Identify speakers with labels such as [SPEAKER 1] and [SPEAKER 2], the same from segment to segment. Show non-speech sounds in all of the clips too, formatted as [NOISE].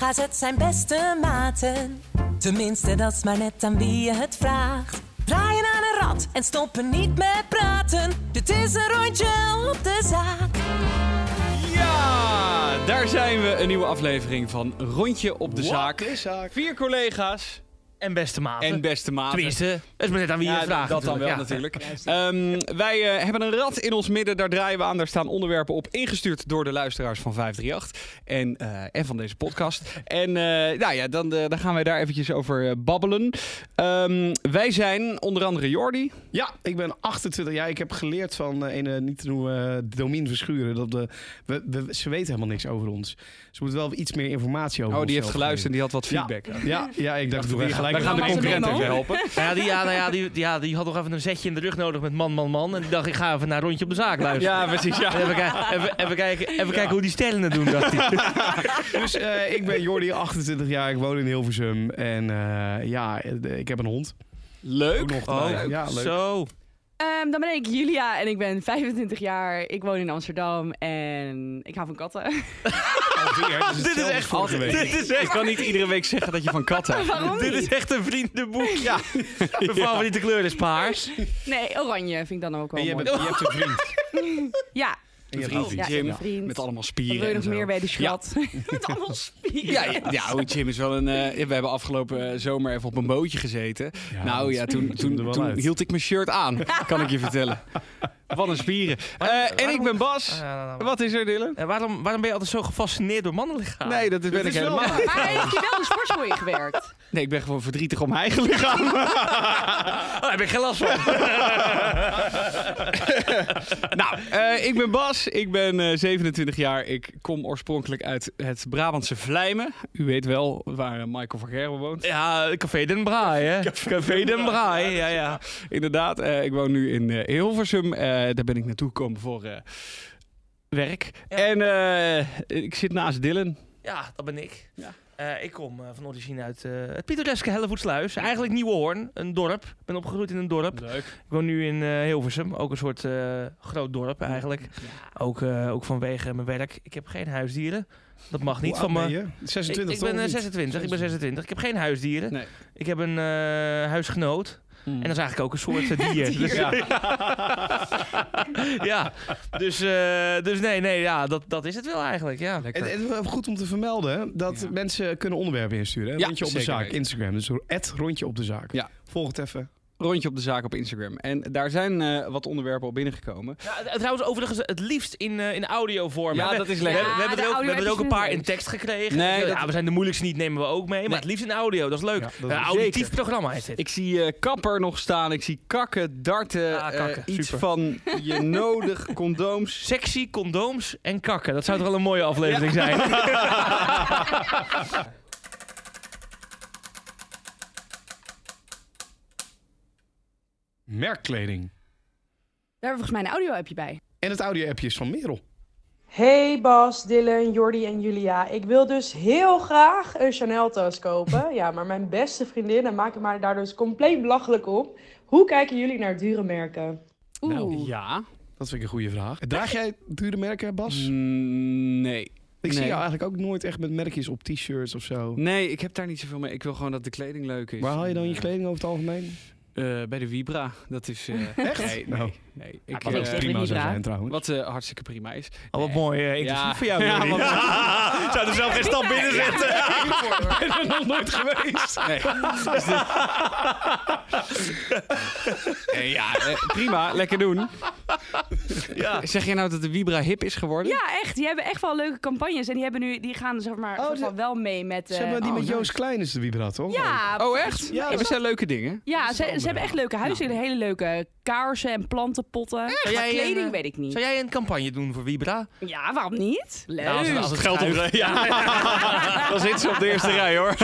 [SPEAKER 1] maar het zijn beste maten. Tenminste, dat is maar net aan wie je het vraagt. Draaien aan een rad en stoppen niet met praten. Dit is een rondje op de zaak.
[SPEAKER 2] Ja, daar zijn we. Een nieuwe aflevering van Rondje op de Zaak.
[SPEAKER 3] zaak.
[SPEAKER 2] Vier collega's
[SPEAKER 3] En beste maat.
[SPEAKER 2] en beste maat.
[SPEAKER 3] Tenminste, het is maar net aan wie je
[SPEAKER 2] Ja,
[SPEAKER 3] het vraagt.
[SPEAKER 2] dat dan wel natuurlijk. Ehm, wij eh, hebben een rad in ons midden, daar draaien we aan. Daar staan onderwerpen op, ingestuurd door de luisteraars van 538 en, eh, en van deze podcast. En eh, nou ja, dan, eh, dan gaan wij daar eventjes over eh, babbelen. Ehm, wij zijn onder andere Jordi. Oh,
[SPEAKER 4] Ja, ik ben 28 jaar. Ik heb geleerd van eh, ene niet te noemen eh, Domien Verschuren. Dat de, we, we- ze weten helemaal niks over ons. Ze moet wel iets meer informatie over
[SPEAKER 2] Oh,
[SPEAKER 4] ons
[SPEAKER 2] die heeft geluisterd en die had wat feedback.
[SPEAKER 4] Ja, ja, ja, ik dacht,
[SPEAKER 2] We
[SPEAKER 4] we gaan gelijk
[SPEAKER 2] gaan de
[SPEAKER 5] Allemaal
[SPEAKER 2] concurrent
[SPEAKER 5] memo.
[SPEAKER 2] even helpen.
[SPEAKER 3] Ja, die, ja, [LAUGHS] nou ja, die, die- ja, die had nog even een zetje in de rug nodig met man, man, man. En die dacht, ik ga even naar Rondje op de Zaak luisteren.
[SPEAKER 2] Ja, precies. Ja.
[SPEAKER 3] Even, kijk- even, even kijken, even kijken hoe die sterren het doen, dacht hij.
[SPEAKER 4] Dus [LAUGHS] eh, ik ben Jordi, 28 jaar. Ik woon in Hilversum. En eh, ja, eh, ik heb een hond.
[SPEAKER 2] Leuk.
[SPEAKER 4] Ook nog.
[SPEAKER 2] Oh,
[SPEAKER 4] ja, leuk.
[SPEAKER 3] Zo.
[SPEAKER 5] Ehm, dan ben ik Julia en ik ben 25 jaar. Ik woon in Amsterdam en ik hou van katten. [LAUGHS]
[SPEAKER 3] Dit is echt
[SPEAKER 4] vorige week. [LAUGHS]
[SPEAKER 3] Dit is
[SPEAKER 2] Ik
[SPEAKER 3] echt,
[SPEAKER 2] kan niet iedere week zeggen dat je van katten houdt.
[SPEAKER 5] Waarom
[SPEAKER 3] dit is
[SPEAKER 5] niet?
[SPEAKER 3] echt een vriendenboek. Ja. Mijn
[SPEAKER 2] [LAUGHS]
[SPEAKER 3] favoriete kleur is paars.
[SPEAKER 5] Nee, oranje vind ik dan ook wel
[SPEAKER 4] En je
[SPEAKER 5] mooi.
[SPEAKER 4] hebt, je hebt een vriend.
[SPEAKER 5] Ja,
[SPEAKER 4] En je hebt
[SPEAKER 2] Vriend.
[SPEAKER 4] een
[SPEAKER 5] ja,
[SPEAKER 4] vriend.
[SPEAKER 2] Jim,
[SPEAKER 5] een vriend.
[SPEAKER 2] Met allemaal
[SPEAKER 5] Wat
[SPEAKER 2] spieren
[SPEAKER 5] wil je
[SPEAKER 2] en
[SPEAKER 5] nog
[SPEAKER 2] zo.
[SPEAKER 5] meer bij de schat? [LAUGHS] Met allemaal spieren.
[SPEAKER 2] Ja, ja, ja oh, Jim is wel een. eh, we hebben afgelopen eh, zomer even op een bootje gezeten.
[SPEAKER 4] Ja,
[SPEAKER 2] nou
[SPEAKER 4] dat
[SPEAKER 2] ja, toen, toen,
[SPEAKER 4] komt er wel
[SPEAKER 2] toen
[SPEAKER 4] uit.
[SPEAKER 2] hield ik mijn shirt
[SPEAKER 5] [LAUGHS]
[SPEAKER 2] aan, kan ik je vertellen. Wat een spieren. Eh, en ik ben Bas.
[SPEAKER 3] nou,
[SPEAKER 2] Wat is er, Dylan?
[SPEAKER 3] Eh, waarom, waarom ben je altijd zo gefascineerd door mannenlichaam?
[SPEAKER 2] Nee, dat ben ik
[SPEAKER 4] is wel-
[SPEAKER 2] helemaal. niet.
[SPEAKER 5] Maar heeft je wel een sportschool ingewerkt?
[SPEAKER 2] Nee, ik ben gewoon verdrietig om mijn eigen lichaam.
[SPEAKER 3] [LAUGHS]
[SPEAKER 4] [LAUGHS]
[SPEAKER 3] Oh, daar heb ik geen
[SPEAKER 2] [LAUGHS]
[SPEAKER 3] last van.
[SPEAKER 2] nou, eh, ik ben Bas. Ik ben eh, 27 jaar. Ik kom oorspronkelijk uit het Brabantse Vlijmen. U weet wel waar eh, Michael van Gerwen woont.
[SPEAKER 3] Ja, Ah, Café Den Braai,
[SPEAKER 2] [LAUGHS]
[SPEAKER 3] hè? Café Den Braai, ja, ja.
[SPEAKER 2] Inderdaad, eh, ik woon nu in eh, Hilversum. Eh, daar ben ik naartoe gekomen voor eh, werk.
[SPEAKER 3] Ja.
[SPEAKER 2] En eh, ik zit naast Dylan.
[SPEAKER 3] Ja, dat ben ik.
[SPEAKER 2] Ja.
[SPEAKER 3] Eh, ik kom eh, van origine uit eh, het pittoreske Hellevoetsluis. Eigenlijk Nieuwehoorn, een dorp. Ik ben opgegroeid in een dorp.
[SPEAKER 2] Leuk.
[SPEAKER 3] Ik woon nu in eh, Hilversum, ook een soort eh, groot dorp eigenlijk. Ook, eh, ook vanwege mijn werk. Ik heb geen huisdieren. Dat mag niet
[SPEAKER 4] Hoe
[SPEAKER 3] van
[SPEAKER 4] oud
[SPEAKER 3] me.
[SPEAKER 4] ben je?
[SPEAKER 3] Ik,
[SPEAKER 4] 26
[SPEAKER 3] ik ben eh,
[SPEAKER 4] toch, of niet?
[SPEAKER 3] 26, ik ben 26. Ik heb geen huisdieren.
[SPEAKER 2] Nee.
[SPEAKER 3] Ik heb een eh, huisgenoot. En dat is eigenlijk ook een soort eh,
[SPEAKER 4] [LAUGHS]
[SPEAKER 3] dier. Dus-
[SPEAKER 2] Ja.
[SPEAKER 3] [LAUGHS] ja, dus, eh, dus nee, nee, ja, dat, dat is het wel eigenlijk. Ja.
[SPEAKER 2] Lekker.
[SPEAKER 4] Het het is wel eh, goed om te vermelden hè, dat
[SPEAKER 2] Ja.
[SPEAKER 4] mensen kunnen onderwerpen insturen. hè.
[SPEAKER 2] Ja,
[SPEAKER 4] rondje op de
[SPEAKER 2] zeker
[SPEAKER 4] zaak,
[SPEAKER 2] weten.
[SPEAKER 4] Instagram. Dus het rondje op de zaak.
[SPEAKER 2] Ja.
[SPEAKER 4] Volg het even.
[SPEAKER 2] Rondje op de zaak op Instagram. En daar zijn eh, wat onderwerpen al binnengekomen.
[SPEAKER 3] Ja, het- trouwens, overigens, het liefst in, eh, in audiovorm.
[SPEAKER 2] Ja,
[SPEAKER 3] We-
[SPEAKER 2] dat is
[SPEAKER 3] we, we,
[SPEAKER 2] lekker.
[SPEAKER 5] Ja,
[SPEAKER 3] hebben
[SPEAKER 5] de
[SPEAKER 3] er ook, we hebben er ook een
[SPEAKER 5] audio-editjes
[SPEAKER 3] paar
[SPEAKER 5] is
[SPEAKER 3] in
[SPEAKER 5] leuk.
[SPEAKER 3] tekst gekregen.
[SPEAKER 2] Nee,
[SPEAKER 3] ja,
[SPEAKER 2] dat-
[SPEAKER 3] we zijn de moeilijkste niet, nemen we ook mee. Maar
[SPEAKER 2] Nee.
[SPEAKER 3] het liefst in audio, dat is leuk.
[SPEAKER 4] Ja, dat is
[SPEAKER 3] een
[SPEAKER 4] leuk.
[SPEAKER 3] auditief
[SPEAKER 2] Zeker.
[SPEAKER 3] programma is dit.
[SPEAKER 2] Ik zie eh, kapper nog staan. Ik zie kakken, darten.
[SPEAKER 3] Ah,
[SPEAKER 2] eh,
[SPEAKER 3] kakken.
[SPEAKER 2] iets
[SPEAKER 3] Super.
[SPEAKER 2] van
[SPEAKER 3] [LAUGHS]
[SPEAKER 2] je nodig, condooms.
[SPEAKER 3] Sexy, condooms en kakken. Dat zou toch wel een mooie aflevering [LAUGHS] zijn.
[SPEAKER 4] Merkkleding.
[SPEAKER 5] Daar hebben we volgens mij een audio-appje bij.
[SPEAKER 4] En het audio-appje is van Merel.
[SPEAKER 6] Hey Bas, Dylan, Jordi en Julia. Ik wil dus heel graag een Chanel-tas kopen. Ja, maar mijn beste vriendinnen maken mij daar dus compleet belachelijk op. Hoe kijken jullie naar dure merken?
[SPEAKER 5] Oeh.
[SPEAKER 3] Nou,
[SPEAKER 2] Nou, Ja.
[SPEAKER 4] Dat vind ik een goede vraag. Draag jij dure merken, Bas?
[SPEAKER 2] Mm, nee.
[SPEAKER 4] Ik zie
[SPEAKER 2] nee.
[SPEAKER 4] jou eigenlijk ook nooit echt met merkjes op t-shirts of zo.
[SPEAKER 2] Nee, ik heb daar niet zoveel mee. Ik wil gewoon dat de kleding leuk is.
[SPEAKER 4] Waar haal je dan je
[SPEAKER 2] Eh,
[SPEAKER 4] kleding over het algemeen?
[SPEAKER 2] Eh, bij de Vibra. Dat is. eh,
[SPEAKER 4] Echt?
[SPEAKER 2] Nee, nee.
[SPEAKER 4] Nou.
[SPEAKER 2] nee.
[SPEAKER 5] Ah,
[SPEAKER 2] Ik,
[SPEAKER 5] wat
[SPEAKER 2] eh,
[SPEAKER 5] ook zeg prima. ik niet
[SPEAKER 4] zou
[SPEAKER 5] raar.
[SPEAKER 4] zijn trouwens.
[SPEAKER 2] wat eh, hartstikke prima is.
[SPEAKER 3] Oh, wat mooi, eh, inclusief
[SPEAKER 2] Ja.
[SPEAKER 3] voor jou.
[SPEAKER 2] Ja,
[SPEAKER 3] Jordi.
[SPEAKER 2] want-
[SPEAKER 3] [LAUGHS] Zou er zelf geen stap binnen zetten.
[SPEAKER 4] Ik ben er nog nooit geweest.
[SPEAKER 2] Nee. Dus dit- Eh, ja, eh, prima. Lekker
[SPEAKER 4] [LAUGHS]
[SPEAKER 2] doen.
[SPEAKER 3] Ja.
[SPEAKER 2] Zeg je nou dat de Vibra hip is geworden?
[SPEAKER 5] Ja, echt. Die hebben echt wel leuke campagnes. En die, hebben nu, die gaan zeg maar
[SPEAKER 4] Oh,
[SPEAKER 5] soort van
[SPEAKER 4] de-
[SPEAKER 5] wel mee met...
[SPEAKER 4] Ze
[SPEAKER 5] eh,
[SPEAKER 4] hebben die
[SPEAKER 5] oh,
[SPEAKER 4] met
[SPEAKER 5] nice.
[SPEAKER 4] Joost Klein is de Vibra, toch?
[SPEAKER 5] Ja,
[SPEAKER 2] Oh, echt?
[SPEAKER 4] Ja,
[SPEAKER 2] Ja,
[SPEAKER 4] dat
[SPEAKER 2] dat zijn leuke dingen.
[SPEAKER 5] Ja, ze, ze hebben echt leuke huizen. Hele leuke kaarsen en plantenpotten. Maar
[SPEAKER 3] jij een,
[SPEAKER 5] kleding
[SPEAKER 3] eh,
[SPEAKER 5] weet ik niet.
[SPEAKER 3] Zou jij een campagne doen voor Vibra?
[SPEAKER 5] Ja, waarom niet? Leuk.
[SPEAKER 3] Nou, als het- als het
[SPEAKER 2] [LAUGHS]
[SPEAKER 3] geld op [LAUGHS]
[SPEAKER 2] Dan zit ze op de eerste rij hoor.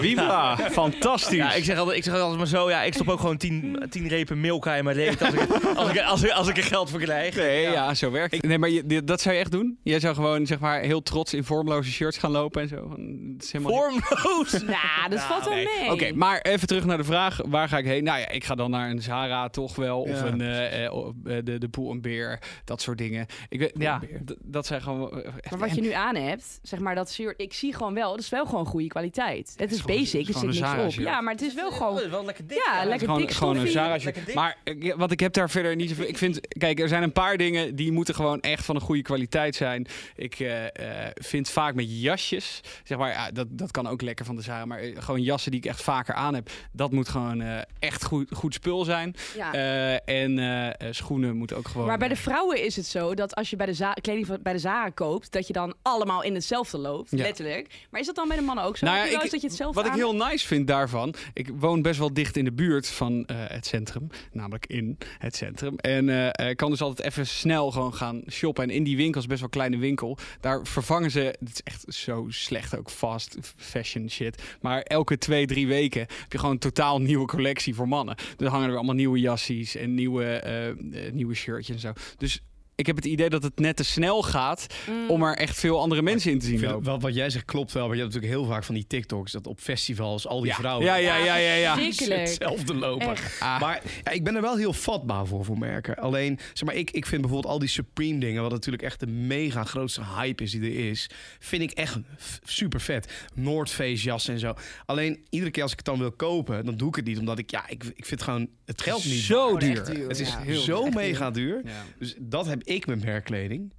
[SPEAKER 2] Vibra, fantastisch.
[SPEAKER 3] Ja, ik zeg altijd, ik zeg altijd maar zo, ja, ik stop ook gewoon tien, tien repen Milka in mijn reet als ik, als ik, als ik, als ik, er geld voor krijgen.
[SPEAKER 2] Nee, ja.
[SPEAKER 3] Ja.
[SPEAKER 2] zo werkt het. Nee, maar je- dit- dat zou je echt doen? Jij zou gewoon zeg maar heel trots in vormloze shirts gaan lopen en zo. Van, Het is helemaal
[SPEAKER 3] Vormloos.
[SPEAKER 2] [LAUGHS]
[SPEAKER 5] Nou, dat valt wel
[SPEAKER 3] nee.
[SPEAKER 5] mee.
[SPEAKER 2] Oké, maar even terug naar de vraag. Waar ga ik heen? Nou ja, ik ga dan naar een Zara toch wel. Of
[SPEAKER 4] Ja.
[SPEAKER 2] een, eh, eh, o- eh, de, de Poel en Beer. Dat soort dingen. Ik weet, ja,
[SPEAKER 4] Beer.
[SPEAKER 2] d- dat zijn gewoon... eh, echt-
[SPEAKER 5] Maar wat
[SPEAKER 2] en-
[SPEAKER 5] je nu aan hebt, zeg maar dat shirt, ik zie gewoon wel, dat is wel gewoon goede kwaliteit. Het is,
[SPEAKER 2] gewoon-
[SPEAKER 5] basic,
[SPEAKER 2] het is
[SPEAKER 5] er
[SPEAKER 2] gewoon
[SPEAKER 5] zit niks
[SPEAKER 2] een Zara
[SPEAKER 5] op.
[SPEAKER 2] shirt.
[SPEAKER 5] Ja, maar het is wel
[SPEAKER 3] Oh,
[SPEAKER 5] gewoon...
[SPEAKER 3] wel lekker dik.
[SPEAKER 5] Ja, lekker
[SPEAKER 2] Gewoon,
[SPEAKER 5] dik
[SPEAKER 2] gewoon een
[SPEAKER 5] stoffie.
[SPEAKER 2] Zara
[SPEAKER 3] Lekker
[SPEAKER 2] shirt.
[SPEAKER 3] dik.
[SPEAKER 2] Maar eh, want ik heb daar verder niet zoveel. Ik vind, kijk, er zijn een paar dingen die moeten gewoon echt van een goede kwaliteit zijn. Ik eh, eh, vind vaak met jasjes, zeg maar, ja, dat, dat kan ook lekker van de Zara. Maar eh, gewoon jassen die ik echt vaker aan heb, dat moet gewoon eh, echt goed, goed spul zijn.
[SPEAKER 5] Ja.
[SPEAKER 2] Eh, en eh, eh, schoenen moeten ook gewoon.
[SPEAKER 5] Maar bij de
[SPEAKER 2] eh,
[SPEAKER 5] vrouwen is het zo dat als je bij de za- kleding van, bij de Zara koopt, dat je dan allemaal in hetzelfde loopt,
[SPEAKER 2] Ja.
[SPEAKER 5] letterlijk. Maar is dat dan bij de mannen ook zo?
[SPEAKER 2] Nou
[SPEAKER 5] Heb
[SPEAKER 2] ja,
[SPEAKER 5] je wel
[SPEAKER 2] ik-
[SPEAKER 5] eens dat je hetzelfde
[SPEAKER 2] Wat ik
[SPEAKER 5] aan-
[SPEAKER 2] heel nice vind daarvan, ik woon best wel dicht in de buurt van eh, het centrum, namelijk in het centrum. En eh, eh, kan dus altijd even snel gewoon gaan shoppen. En in die winkels, best wel een kleine winkel, daar vervangen ze, het is echt zo slecht ook fast fashion shit, maar elke twee, drie weken heb je gewoon een totaal nieuwe collectie voor mannen. Dus dan hangen er weer allemaal nieuwe jassies en nieuwe, eh, eh, nieuwe shirtjes en zo. Dus ik heb het idee dat het net te snel gaat
[SPEAKER 5] Mm.
[SPEAKER 2] om er echt veel andere mensen in te
[SPEAKER 4] Ik
[SPEAKER 2] zien
[SPEAKER 4] vind
[SPEAKER 2] lopen.
[SPEAKER 4] wel, wat jij zegt klopt wel, maar je hebt natuurlijk heel vaak van die TikToks dat op festivals al die
[SPEAKER 2] Ja.
[SPEAKER 4] vrouwen
[SPEAKER 2] Ja, ja, ja, ja, ja.
[SPEAKER 5] Verschrikkelijk.
[SPEAKER 4] hetzelfde lopen.
[SPEAKER 5] Echt.
[SPEAKER 2] Ah.
[SPEAKER 4] Maar ja, ik ben er wel heel vatbaar voor, voor merken. Alleen, zeg maar, ik, ik vind bijvoorbeeld al die Supreme dingen, wat natuurlijk echt de mega grootste hype is die er is, vind ik echt f- super vet. North Face jas en zo. Alleen, iedere keer als ik het dan wil kopen, dan doe ik het niet, omdat ik, ja, ik, ik vind gewoon het geld niet.
[SPEAKER 2] zo
[SPEAKER 4] waard.
[SPEAKER 2] duur.
[SPEAKER 4] Het is
[SPEAKER 2] Ja, heel
[SPEAKER 4] zo
[SPEAKER 2] duur.
[SPEAKER 4] mega duur.
[SPEAKER 2] Ja.
[SPEAKER 4] Dus dat heb ik met merkkleding.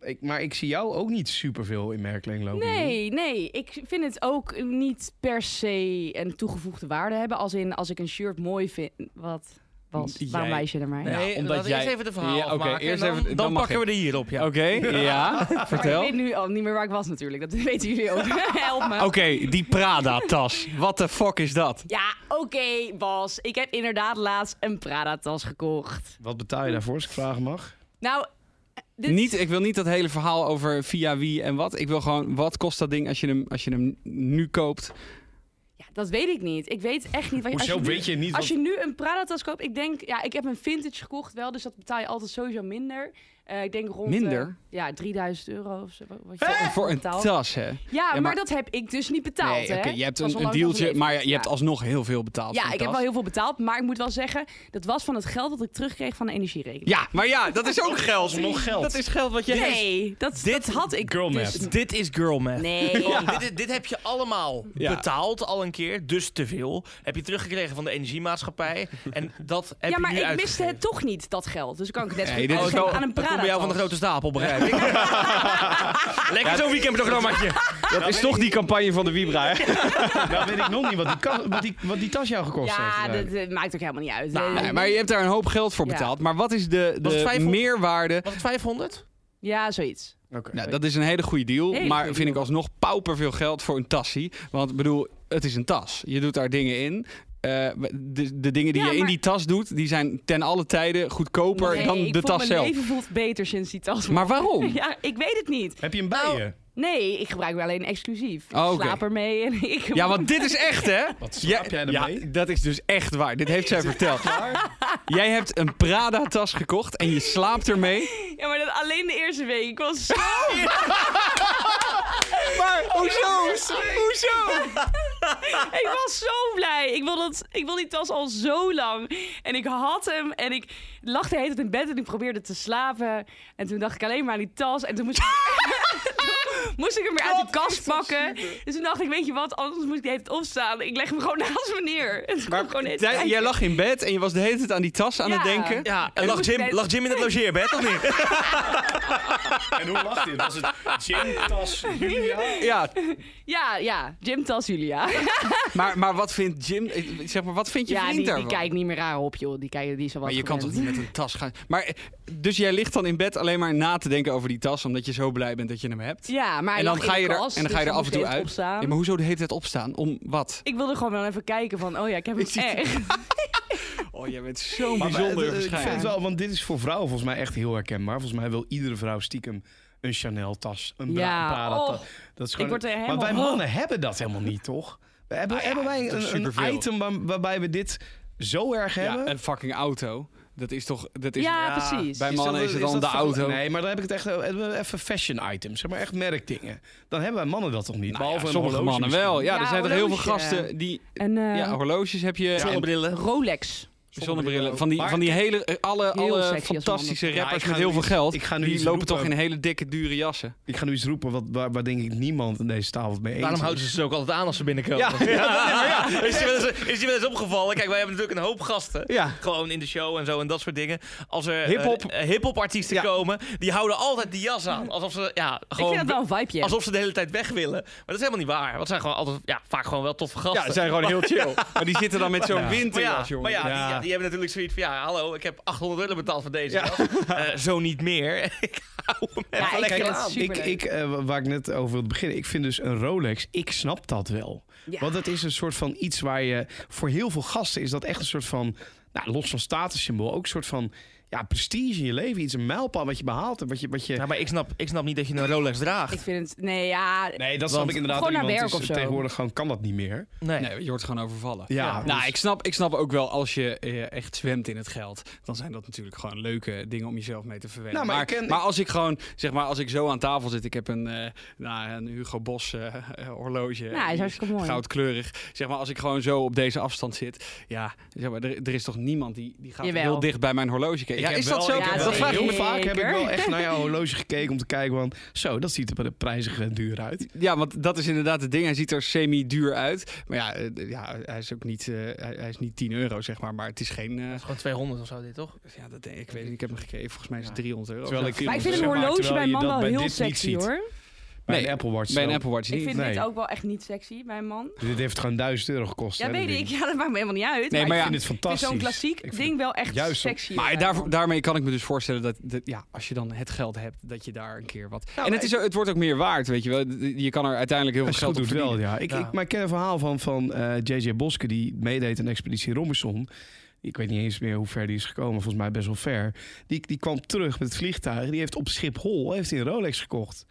[SPEAKER 4] Ik, maar ik zie jou ook niet superveel in merkkleding lopen.
[SPEAKER 5] Nee,
[SPEAKER 2] Mhm.
[SPEAKER 5] nee. Ik vind het ook niet per se een toegevoegde waarde hebben. Als in, als ik een shirt mooi vind... Wat? Wat?
[SPEAKER 2] Jij-
[SPEAKER 5] Waarom wijs je naar mij?
[SPEAKER 2] Ja,
[SPEAKER 3] Nee,
[SPEAKER 2] omdat
[SPEAKER 3] laten we eerst
[SPEAKER 2] jij-
[SPEAKER 3] even de verhaal
[SPEAKER 2] Ja, oké,
[SPEAKER 3] afmaken.
[SPEAKER 2] eerst
[SPEAKER 3] en dan, Oh,
[SPEAKER 2] even- dan
[SPEAKER 3] dan
[SPEAKER 2] mag
[SPEAKER 3] pakken
[SPEAKER 2] ik.
[SPEAKER 3] we er hierop. Ja.
[SPEAKER 2] Oké, [LAUGHS] ja,
[SPEAKER 5] Maar ik
[SPEAKER 2] vertel.
[SPEAKER 5] weet nu al niet meer waar ik was natuurlijk. Dat [LAUGHS] weten jullie
[SPEAKER 2] [LAUGHS]
[SPEAKER 5] ook. Help me.
[SPEAKER 2] Oké, die Prada-tas. Wat de fuck is dat?
[SPEAKER 5] Ja, oké, Bas. Ik heb inderdaad laatst een Prada-tas gekocht.
[SPEAKER 4] Wat betaal je daarvoor, als ik vragen mag?
[SPEAKER 5] Nou, dit
[SPEAKER 2] Niet, ik wil niet dat hele verhaal over via wie en wat. Ik wil gewoon, wat kost dat ding als je hem, als je hem nu koopt?
[SPEAKER 5] Ja, dat weet ik niet. Ik weet echt niet. Wat je,
[SPEAKER 4] Hoezo
[SPEAKER 5] als je nu-
[SPEAKER 4] weet je niet
[SPEAKER 5] Als
[SPEAKER 4] wat
[SPEAKER 5] je nu een Prada-tas koopt, ik denk, ja, ik heb een vintage gekocht wel, dus dat betaal je altijd sowieso minder. Eh, ik denk rond eh,
[SPEAKER 2] Minder?
[SPEAKER 5] ja, 3000 euro of zo. Wat je
[SPEAKER 2] Voor- Voor een
[SPEAKER 5] betaalt.
[SPEAKER 2] tas, hè? Nee,
[SPEAKER 5] Ja, maar,
[SPEAKER 2] maar-
[SPEAKER 5] dat heb ik dus niet betaald.
[SPEAKER 2] oké,
[SPEAKER 5] hè?
[SPEAKER 2] je hebt
[SPEAKER 5] Dat was
[SPEAKER 2] een,
[SPEAKER 5] al
[SPEAKER 2] een
[SPEAKER 5] lang van
[SPEAKER 2] dealtje,
[SPEAKER 5] geleden.
[SPEAKER 2] maar je
[SPEAKER 5] Ja.
[SPEAKER 2] hebt alsnog heel veel betaald voor
[SPEAKER 5] Ja,
[SPEAKER 2] een
[SPEAKER 5] ik heb
[SPEAKER 2] tas.
[SPEAKER 5] wel heel veel betaald, maar ik moet wel zeggen, dat was van het geld dat ik terugkreeg van de energierekening.
[SPEAKER 2] Ja, maar ja, dat is ook geld.
[SPEAKER 4] nog geld.
[SPEAKER 2] Dat is geld wat je hebt.
[SPEAKER 5] Nee, dat,
[SPEAKER 3] Dit-
[SPEAKER 5] dat had ik
[SPEAKER 4] Girl
[SPEAKER 5] dus
[SPEAKER 4] math.
[SPEAKER 3] Dit is girl math.
[SPEAKER 2] [LAUGHS]
[SPEAKER 5] Nee.
[SPEAKER 3] [LAUGHS] Ja, dit, is- dit heb je allemaal
[SPEAKER 2] Ja.
[SPEAKER 3] betaald al een keer, dus te veel. Heb je teruggekregen van de energiemaatschappij. En dat heb
[SPEAKER 5] ja, maar
[SPEAKER 3] je nu
[SPEAKER 5] ik miste
[SPEAKER 3] uitgegeven.
[SPEAKER 5] het toch niet, dat geld. Dus kan ik het net zo
[SPEAKER 2] Nee,
[SPEAKER 5] goed
[SPEAKER 2] dit is
[SPEAKER 5] uitgeven
[SPEAKER 2] wel-
[SPEAKER 5] aan een
[SPEAKER 3] Dat
[SPEAKER 5] Prada.
[SPEAKER 3] komt bij jou van de grote stapel, begrijp ik. Lekker zo'n weekendprogrammaatje.
[SPEAKER 2] Dat is toch die campagne van de Vibra, hè?
[SPEAKER 4] Nou weet ik nog niet wat die, ka- wat die, wat die tas jou gekost
[SPEAKER 5] Ja,
[SPEAKER 4] heeft.
[SPEAKER 5] dat, eh, maakt ook helemaal niet uit. Eh,
[SPEAKER 2] Nee, maar je hebt daar een hoop geld voor
[SPEAKER 5] Ja.
[SPEAKER 2] betaald. Maar wat is de,
[SPEAKER 3] Was het
[SPEAKER 2] de
[SPEAKER 3] 500?
[SPEAKER 2] meerwaarde
[SPEAKER 3] Was het 500?
[SPEAKER 5] Ja, zoiets.
[SPEAKER 4] Oké.
[SPEAKER 2] Nou, dat is een hele goede deal.
[SPEAKER 5] Hele
[SPEAKER 2] maar
[SPEAKER 5] goede
[SPEAKER 2] vind
[SPEAKER 5] deal.
[SPEAKER 2] ik alsnog pauper veel geld voor een tassie. Want ik bedoel, het is een tas. Je doet daar dingen in. Eh, de, de dingen die
[SPEAKER 5] Ja,
[SPEAKER 2] je in
[SPEAKER 5] maar-
[SPEAKER 2] die tas doet, die zijn ten alle tijde goedkoper
[SPEAKER 5] Nee,
[SPEAKER 2] dan
[SPEAKER 5] ik
[SPEAKER 2] de
[SPEAKER 5] voel-
[SPEAKER 2] tas zelf.
[SPEAKER 5] Mijn leven voelt beter sinds die tas.
[SPEAKER 2] Maar waarom?
[SPEAKER 5] [LAUGHS] Ja, ik weet het niet.
[SPEAKER 4] Heb je hem bij
[SPEAKER 5] Nou,
[SPEAKER 4] je?
[SPEAKER 5] Nee, ik gebruik wel alleen exclusief.
[SPEAKER 2] Oh,
[SPEAKER 5] Ik
[SPEAKER 2] oké.
[SPEAKER 5] slaap ermee en [LAUGHS] ik...
[SPEAKER 2] Ja, want dit is echt, hè?
[SPEAKER 4] Wat slaap jij ermee?
[SPEAKER 2] Ja, dat is dus echt waar. Dit heeft zij verteld. Jij hebt een Prada-tas gekocht en je slaapt ermee.
[SPEAKER 5] Ja, maar dat alleen de eerste week. Ik was zo...
[SPEAKER 2] Oh! [LAUGHS] Maar hoezo? Hoezo?
[SPEAKER 5] [LAUGHS] ik was zo blij. Ik wil, dat, ik wil die tas al zo lang. En ik had hem en ik lag de hele tijd in bed en ik probeerde te slapen. En toen dacht ik alleen maar aan die tas. En toen moest ik,
[SPEAKER 2] [LAUGHS]
[SPEAKER 5] moest ik hem weer uit de kast pakken. Dus toen dacht ik, weet je wat, anders moet ik de hele tijd opstaan. Ik leg hem gewoon [LAUGHS] naast me neer. En toen kwam gewoon
[SPEAKER 2] Maar
[SPEAKER 5] net
[SPEAKER 2] jij- jij lag in bed en je was de hele tijd aan die tas aan het
[SPEAKER 5] Ja.
[SPEAKER 2] denken.
[SPEAKER 3] Ja, en
[SPEAKER 5] En
[SPEAKER 3] lag
[SPEAKER 5] moest
[SPEAKER 3] Jim,
[SPEAKER 5] net-
[SPEAKER 3] lag Jim in het logeerbed, of niet?
[SPEAKER 4] En hoe lag dit? Was het gin, tas,
[SPEAKER 5] [LAUGHS]
[SPEAKER 4] Julia?
[SPEAKER 2] [LAUGHS] Ja,
[SPEAKER 5] Ja, ja, gymtas Julia.
[SPEAKER 2] Maar, maar wat vindt Jim, eh, zeg maar, wat vindt je
[SPEAKER 5] ja,
[SPEAKER 2] vriend
[SPEAKER 5] die, die
[SPEAKER 2] daarvan?
[SPEAKER 5] kijkt niet meer raar op, joh. Die, kijkt, die is al wat
[SPEAKER 2] maar je kan toch
[SPEAKER 5] gewend.
[SPEAKER 2] niet met een tas gaan. Maar, eh, dus jij ligt dan in bed alleen maar na te denken over die tas, omdat je zo blij bent dat je hem hebt.
[SPEAKER 5] Ja, maar
[SPEAKER 2] en dan ga je er, en dan ga
[SPEAKER 5] dus
[SPEAKER 2] je er af en toe uit.
[SPEAKER 5] Opstaan.
[SPEAKER 2] Ja, maar hoezo de hele tijd opstaan? Om wat?
[SPEAKER 5] Ik wilde gewoon wel even kijken van, oh ja, ik heb
[SPEAKER 2] Ik zie-
[SPEAKER 5] hem echt.
[SPEAKER 2] Oh, jij bent zo'n
[SPEAKER 4] Bijzonder
[SPEAKER 2] bijzonder
[SPEAKER 4] Ik vind het
[SPEAKER 2] verschijning.
[SPEAKER 4] wel, want dit is voor vrouwen volgens mij echt heel herkenbaar. Volgens mij wil iedere vrouw stiekem een Chanel-tas, een
[SPEAKER 5] Ja,
[SPEAKER 4] ja, Prada-tas.
[SPEAKER 5] oh.
[SPEAKER 4] dat is gewoon-
[SPEAKER 5] word er
[SPEAKER 4] maar
[SPEAKER 5] helemaal-
[SPEAKER 4] wij mannen hebben dat helemaal niet, toch? We hebben, hebben wij
[SPEAKER 2] Nou dat is
[SPEAKER 4] een, een
[SPEAKER 2] superveel.
[SPEAKER 4] item waar- waarbij we dit zo erg
[SPEAKER 2] Ja,
[SPEAKER 4] hebben?
[SPEAKER 2] een fucking auto. Dat is toch... Dat is,
[SPEAKER 5] Ja,
[SPEAKER 3] ja,
[SPEAKER 5] precies.
[SPEAKER 2] bij mannen is het
[SPEAKER 4] dat-
[SPEAKER 2] dan de
[SPEAKER 4] dat vergel-
[SPEAKER 2] auto. Nou
[SPEAKER 4] Nee, maar dan heb ik het echt eh, even fashion items. Zeg maar echt merkdingen. Dan hebben wij mannen dat toch
[SPEAKER 2] Nou
[SPEAKER 4] niet?
[SPEAKER 2] ja,
[SPEAKER 4] behalve een
[SPEAKER 2] sommige
[SPEAKER 4] horloge
[SPEAKER 2] mannen
[SPEAKER 4] misschien.
[SPEAKER 2] wel. Ja,
[SPEAKER 5] Ja,
[SPEAKER 2] er zijn er heel veel
[SPEAKER 5] horloge.
[SPEAKER 2] gasten die...
[SPEAKER 5] En eh,
[SPEAKER 2] Ja, horloges heb je. en
[SPEAKER 3] Zonnebrillen.
[SPEAKER 5] Rolex.
[SPEAKER 2] Zonnebrillen. Van die,
[SPEAKER 4] Maar-
[SPEAKER 2] van die hele, eh, alle,
[SPEAKER 5] Heel
[SPEAKER 2] alle
[SPEAKER 5] sexy als
[SPEAKER 2] fantastische
[SPEAKER 5] mannen.
[SPEAKER 2] rappers
[SPEAKER 4] Ja, ik
[SPEAKER 2] met
[SPEAKER 4] ga
[SPEAKER 2] heel
[SPEAKER 4] nu
[SPEAKER 2] veel
[SPEAKER 4] iets-
[SPEAKER 2] geld.
[SPEAKER 4] ik ga nu
[SPEAKER 2] die
[SPEAKER 4] iets
[SPEAKER 2] lopen toch
[SPEAKER 4] roepen.
[SPEAKER 2] in hele dikke, dure jassen.
[SPEAKER 4] Ik ga nu iets roepen wat, waar, waar denk ik niemand aan deze tafel mee eens
[SPEAKER 3] Daarom
[SPEAKER 4] is.
[SPEAKER 3] houden ze ze ook altijd aan als ze binnenkomen.
[SPEAKER 4] Ja,
[SPEAKER 3] [LAUGHS] Is je wel eens, is je wel eens opgevallen? Kijk, wij hebben natuurlijk een hoop gasten.
[SPEAKER 2] Ja.
[SPEAKER 3] Gewoon in de show en zo en dat soort dingen. Als er
[SPEAKER 2] Hip-hop.
[SPEAKER 3] eh, eh, hip-hop artiesten
[SPEAKER 2] Ja.
[SPEAKER 3] komen, die houden altijd die jas aan. Alsof ze, ja,
[SPEAKER 5] Ik
[SPEAKER 3] gewoon
[SPEAKER 5] vind dat wel een vibeje.
[SPEAKER 3] Alsof ze de hele tijd weg willen. Maar dat is helemaal niet waar. Want ze zijn gewoon altijd, ja, vaak gewoon wel toffe gasten.
[SPEAKER 2] Ja, ze zijn gewoon heel chill. [LAUGHS] maar die zitten dan met zo'n
[SPEAKER 3] maar ja,
[SPEAKER 2] winterjas, jongen.
[SPEAKER 3] maar ja,
[SPEAKER 2] Ja.
[SPEAKER 3] Die, ja, die hebben natuurlijk zoiets van, ja, hallo, ik heb 800 euro betaald voor deze jas. Eh, zo niet meer. [LAUGHS] ik hou hem
[SPEAKER 5] Ja,
[SPEAKER 3] even
[SPEAKER 5] ik
[SPEAKER 3] lekker
[SPEAKER 5] vind het
[SPEAKER 3] aan.
[SPEAKER 5] super-
[SPEAKER 4] Ik, ik, eh, waar ik net over wilde beginnen, ik vind dus een Rolex, ik snap dat wel.
[SPEAKER 5] Ja.
[SPEAKER 4] Want het is een soort van iets waar je, voor heel veel gasten is dat echt een soort van, nou, los van statussymbool, ook een soort van ja, prestige in je leven. Iets, een mijlpaal wat je behaalt hebt, wat je... Wat je
[SPEAKER 3] Ja, maar ik snap, ik snap niet dat je een Rolex
[SPEAKER 5] Ik
[SPEAKER 3] draagt.
[SPEAKER 5] vind het... Nee, ja...
[SPEAKER 4] nee, dat
[SPEAKER 3] Want-
[SPEAKER 4] snap ik inderdaad.
[SPEAKER 5] Gewoon
[SPEAKER 4] ook
[SPEAKER 5] naar
[SPEAKER 4] niet, want het
[SPEAKER 5] werk
[SPEAKER 4] is-
[SPEAKER 5] of zo.
[SPEAKER 4] Tegenwoordig gewoon kan dat niet meer.
[SPEAKER 3] Nee.
[SPEAKER 2] Nee, je wordt gewoon overvallen.
[SPEAKER 4] Ja,
[SPEAKER 2] Nou,
[SPEAKER 4] dus-
[SPEAKER 2] ik snap, ik snap ook wel als je eh, echt zwemt in het geld, dan zijn dat natuurlijk gewoon leuke dingen om jezelf mee te verwennen.
[SPEAKER 4] Nou, maar
[SPEAKER 2] maar,
[SPEAKER 4] ik ken-
[SPEAKER 2] maar als ik gewoon, zeg maar, als ik zo aan tafel zit, ik heb een, eh, nou, een Hugo Boss eh, eh, horloge.
[SPEAKER 5] Nou, hij is
[SPEAKER 2] Die
[SPEAKER 5] hartstikke mooi.
[SPEAKER 2] Goudkleurig. Zeg maar, als ik gewoon zo op deze afstand zit, ja, zeg maar, er, er is toch niemand die, die gaat
[SPEAKER 5] Jawel.
[SPEAKER 2] heel dicht bij mijn horloge kijken.
[SPEAKER 4] Ik
[SPEAKER 2] Ja,
[SPEAKER 4] heb
[SPEAKER 2] is
[SPEAKER 4] wel-
[SPEAKER 2] dat zo?
[SPEAKER 4] ik heb
[SPEAKER 5] Ja,
[SPEAKER 4] wel
[SPEAKER 2] dat vraag ik
[SPEAKER 5] zeker.
[SPEAKER 4] heel
[SPEAKER 2] me-
[SPEAKER 4] vaak heb ik wel
[SPEAKER 5] Zeker.
[SPEAKER 4] echt naar jouw horloge gekeken om te kijken van... Zo, dat ziet er bij de prijzig eh, duur uit.
[SPEAKER 2] Ja, want dat is inderdaad het ding. Hij ziet er semi-duur uit. Maar ja, eh, ja hij is ook niet, eh, hij, hij is niet 10 euro, zeg maar. Maar het is geen... eh,
[SPEAKER 3] Gewoon 200 of zo, dit toch?
[SPEAKER 2] Ja, dat denk ik. Ik weet niet. Ik heb hem gekeken. Volgens mij is het 300 euro.
[SPEAKER 4] Terwijl
[SPEAKER 2] of zo.
[SPEAKER 4] ik-
[SPEAKER 5] Maar ik vind
[SPEAKER 4] Zeg
[SPEAKER 5] een
[SPEAKER 4] maar,
[SPEAKER 5] horloge
[SPEAKER 4] terwijl
[SPEAKER 5] bij
[SPEAKER 4] je
[SPEAKER 5] man
[SPEAKER 4] dat
[SPEAKER 5] wel
[SPEAKER 4] bij
[SPEAKER 5] heel
[SPEAKER 4] dit niet
[SPEAKER 5] sexy,
[SPEAKER 4] ziet.
[SPEAKER 5] hoor.
[SPEAKER 4] Bij
[SPEAKER 2] Nee,
[SPEAKER 4] een Apple Watch
[SPEAKER 2] bij een
[SPEAKER 4] zo.
[SPEAKER 2] Apple Watch
[SPEAKER 5] Ik
[SPEAKER 2] niet.
[SPEAKER 5] vind
[SPEAKER 4] Nee.
[SPEAKER 5] dit ook wel echt niet sexy bij een man.
[SPEAKER 4] Dit heeft gewoon 1000 euro gekost.
[SPEAKER 5] Ja,
[SPEAKER 4] hè,
[SPEAKER 5] weet
[SPEAKER 4] dit
[SPEAKER 5] ik.
[SPEAKER 4] ding.
[SPEAKER 5] Ja, dat maakt me helemaal niet uit.
[SPEAKER 2] Nee,
[SPEAKER 5] maar
[SPEAKER 2] maar
[SPEAKER 4] Ik
[SPEAKER 2] ja.
[SPEAKER 4] vind het
[SPEAKER 5] ik vind
[SPEAKER 4] fantastisch.
[SPEAKER 5] zo'n
[SPEAKER 4] Ik
[SPEAKER 5] klassiek
[SPEAKER 4] vind
[SPEAKER 5] ding wel echt
[SPEAKER 4] juist op-
[SPEAKER 5] sexy.
[SPEAKER 2] Maar
[SPEAKER 5] bij
[SPEAKER 2] daar,
[SPEAKER 5] man.
[SPEAKER 2] daarmee kan ik me dus voorstellen dat, dat ja, als je dan het geld hebt, dat je daar een keer wat.
[SPEAKER 5] Nou,
[SPEAKER 4] maar
[SPEAKER 2] en het, is, ook- het wordt ook meer waard, weet je wel. Je kan er uiteindelijk heel
[SPEAKER 4] Als
[SPEAKER 2] veel
[SPEAKER 4] je
[SPEAKER 2] geld op
[SPEAKER 4] het goed doet
[SPEAKER 2] verdienen.
[SPEAKER 4] wel, ja. Ik,
[SPEAKER 3] Ja.
[SPEAKER 4] Ik, maar ik ken een verhaal van, van eh, J.J. Boske, die meedeed aan Expeditie Robinson. Ik weet niet eens meer hoe ver die is gekomen, volgens mij best wel ver. Die, die kwam terug met het vliegtuig. Die heeft op Schiphol heeft hij een Rolex gekocht.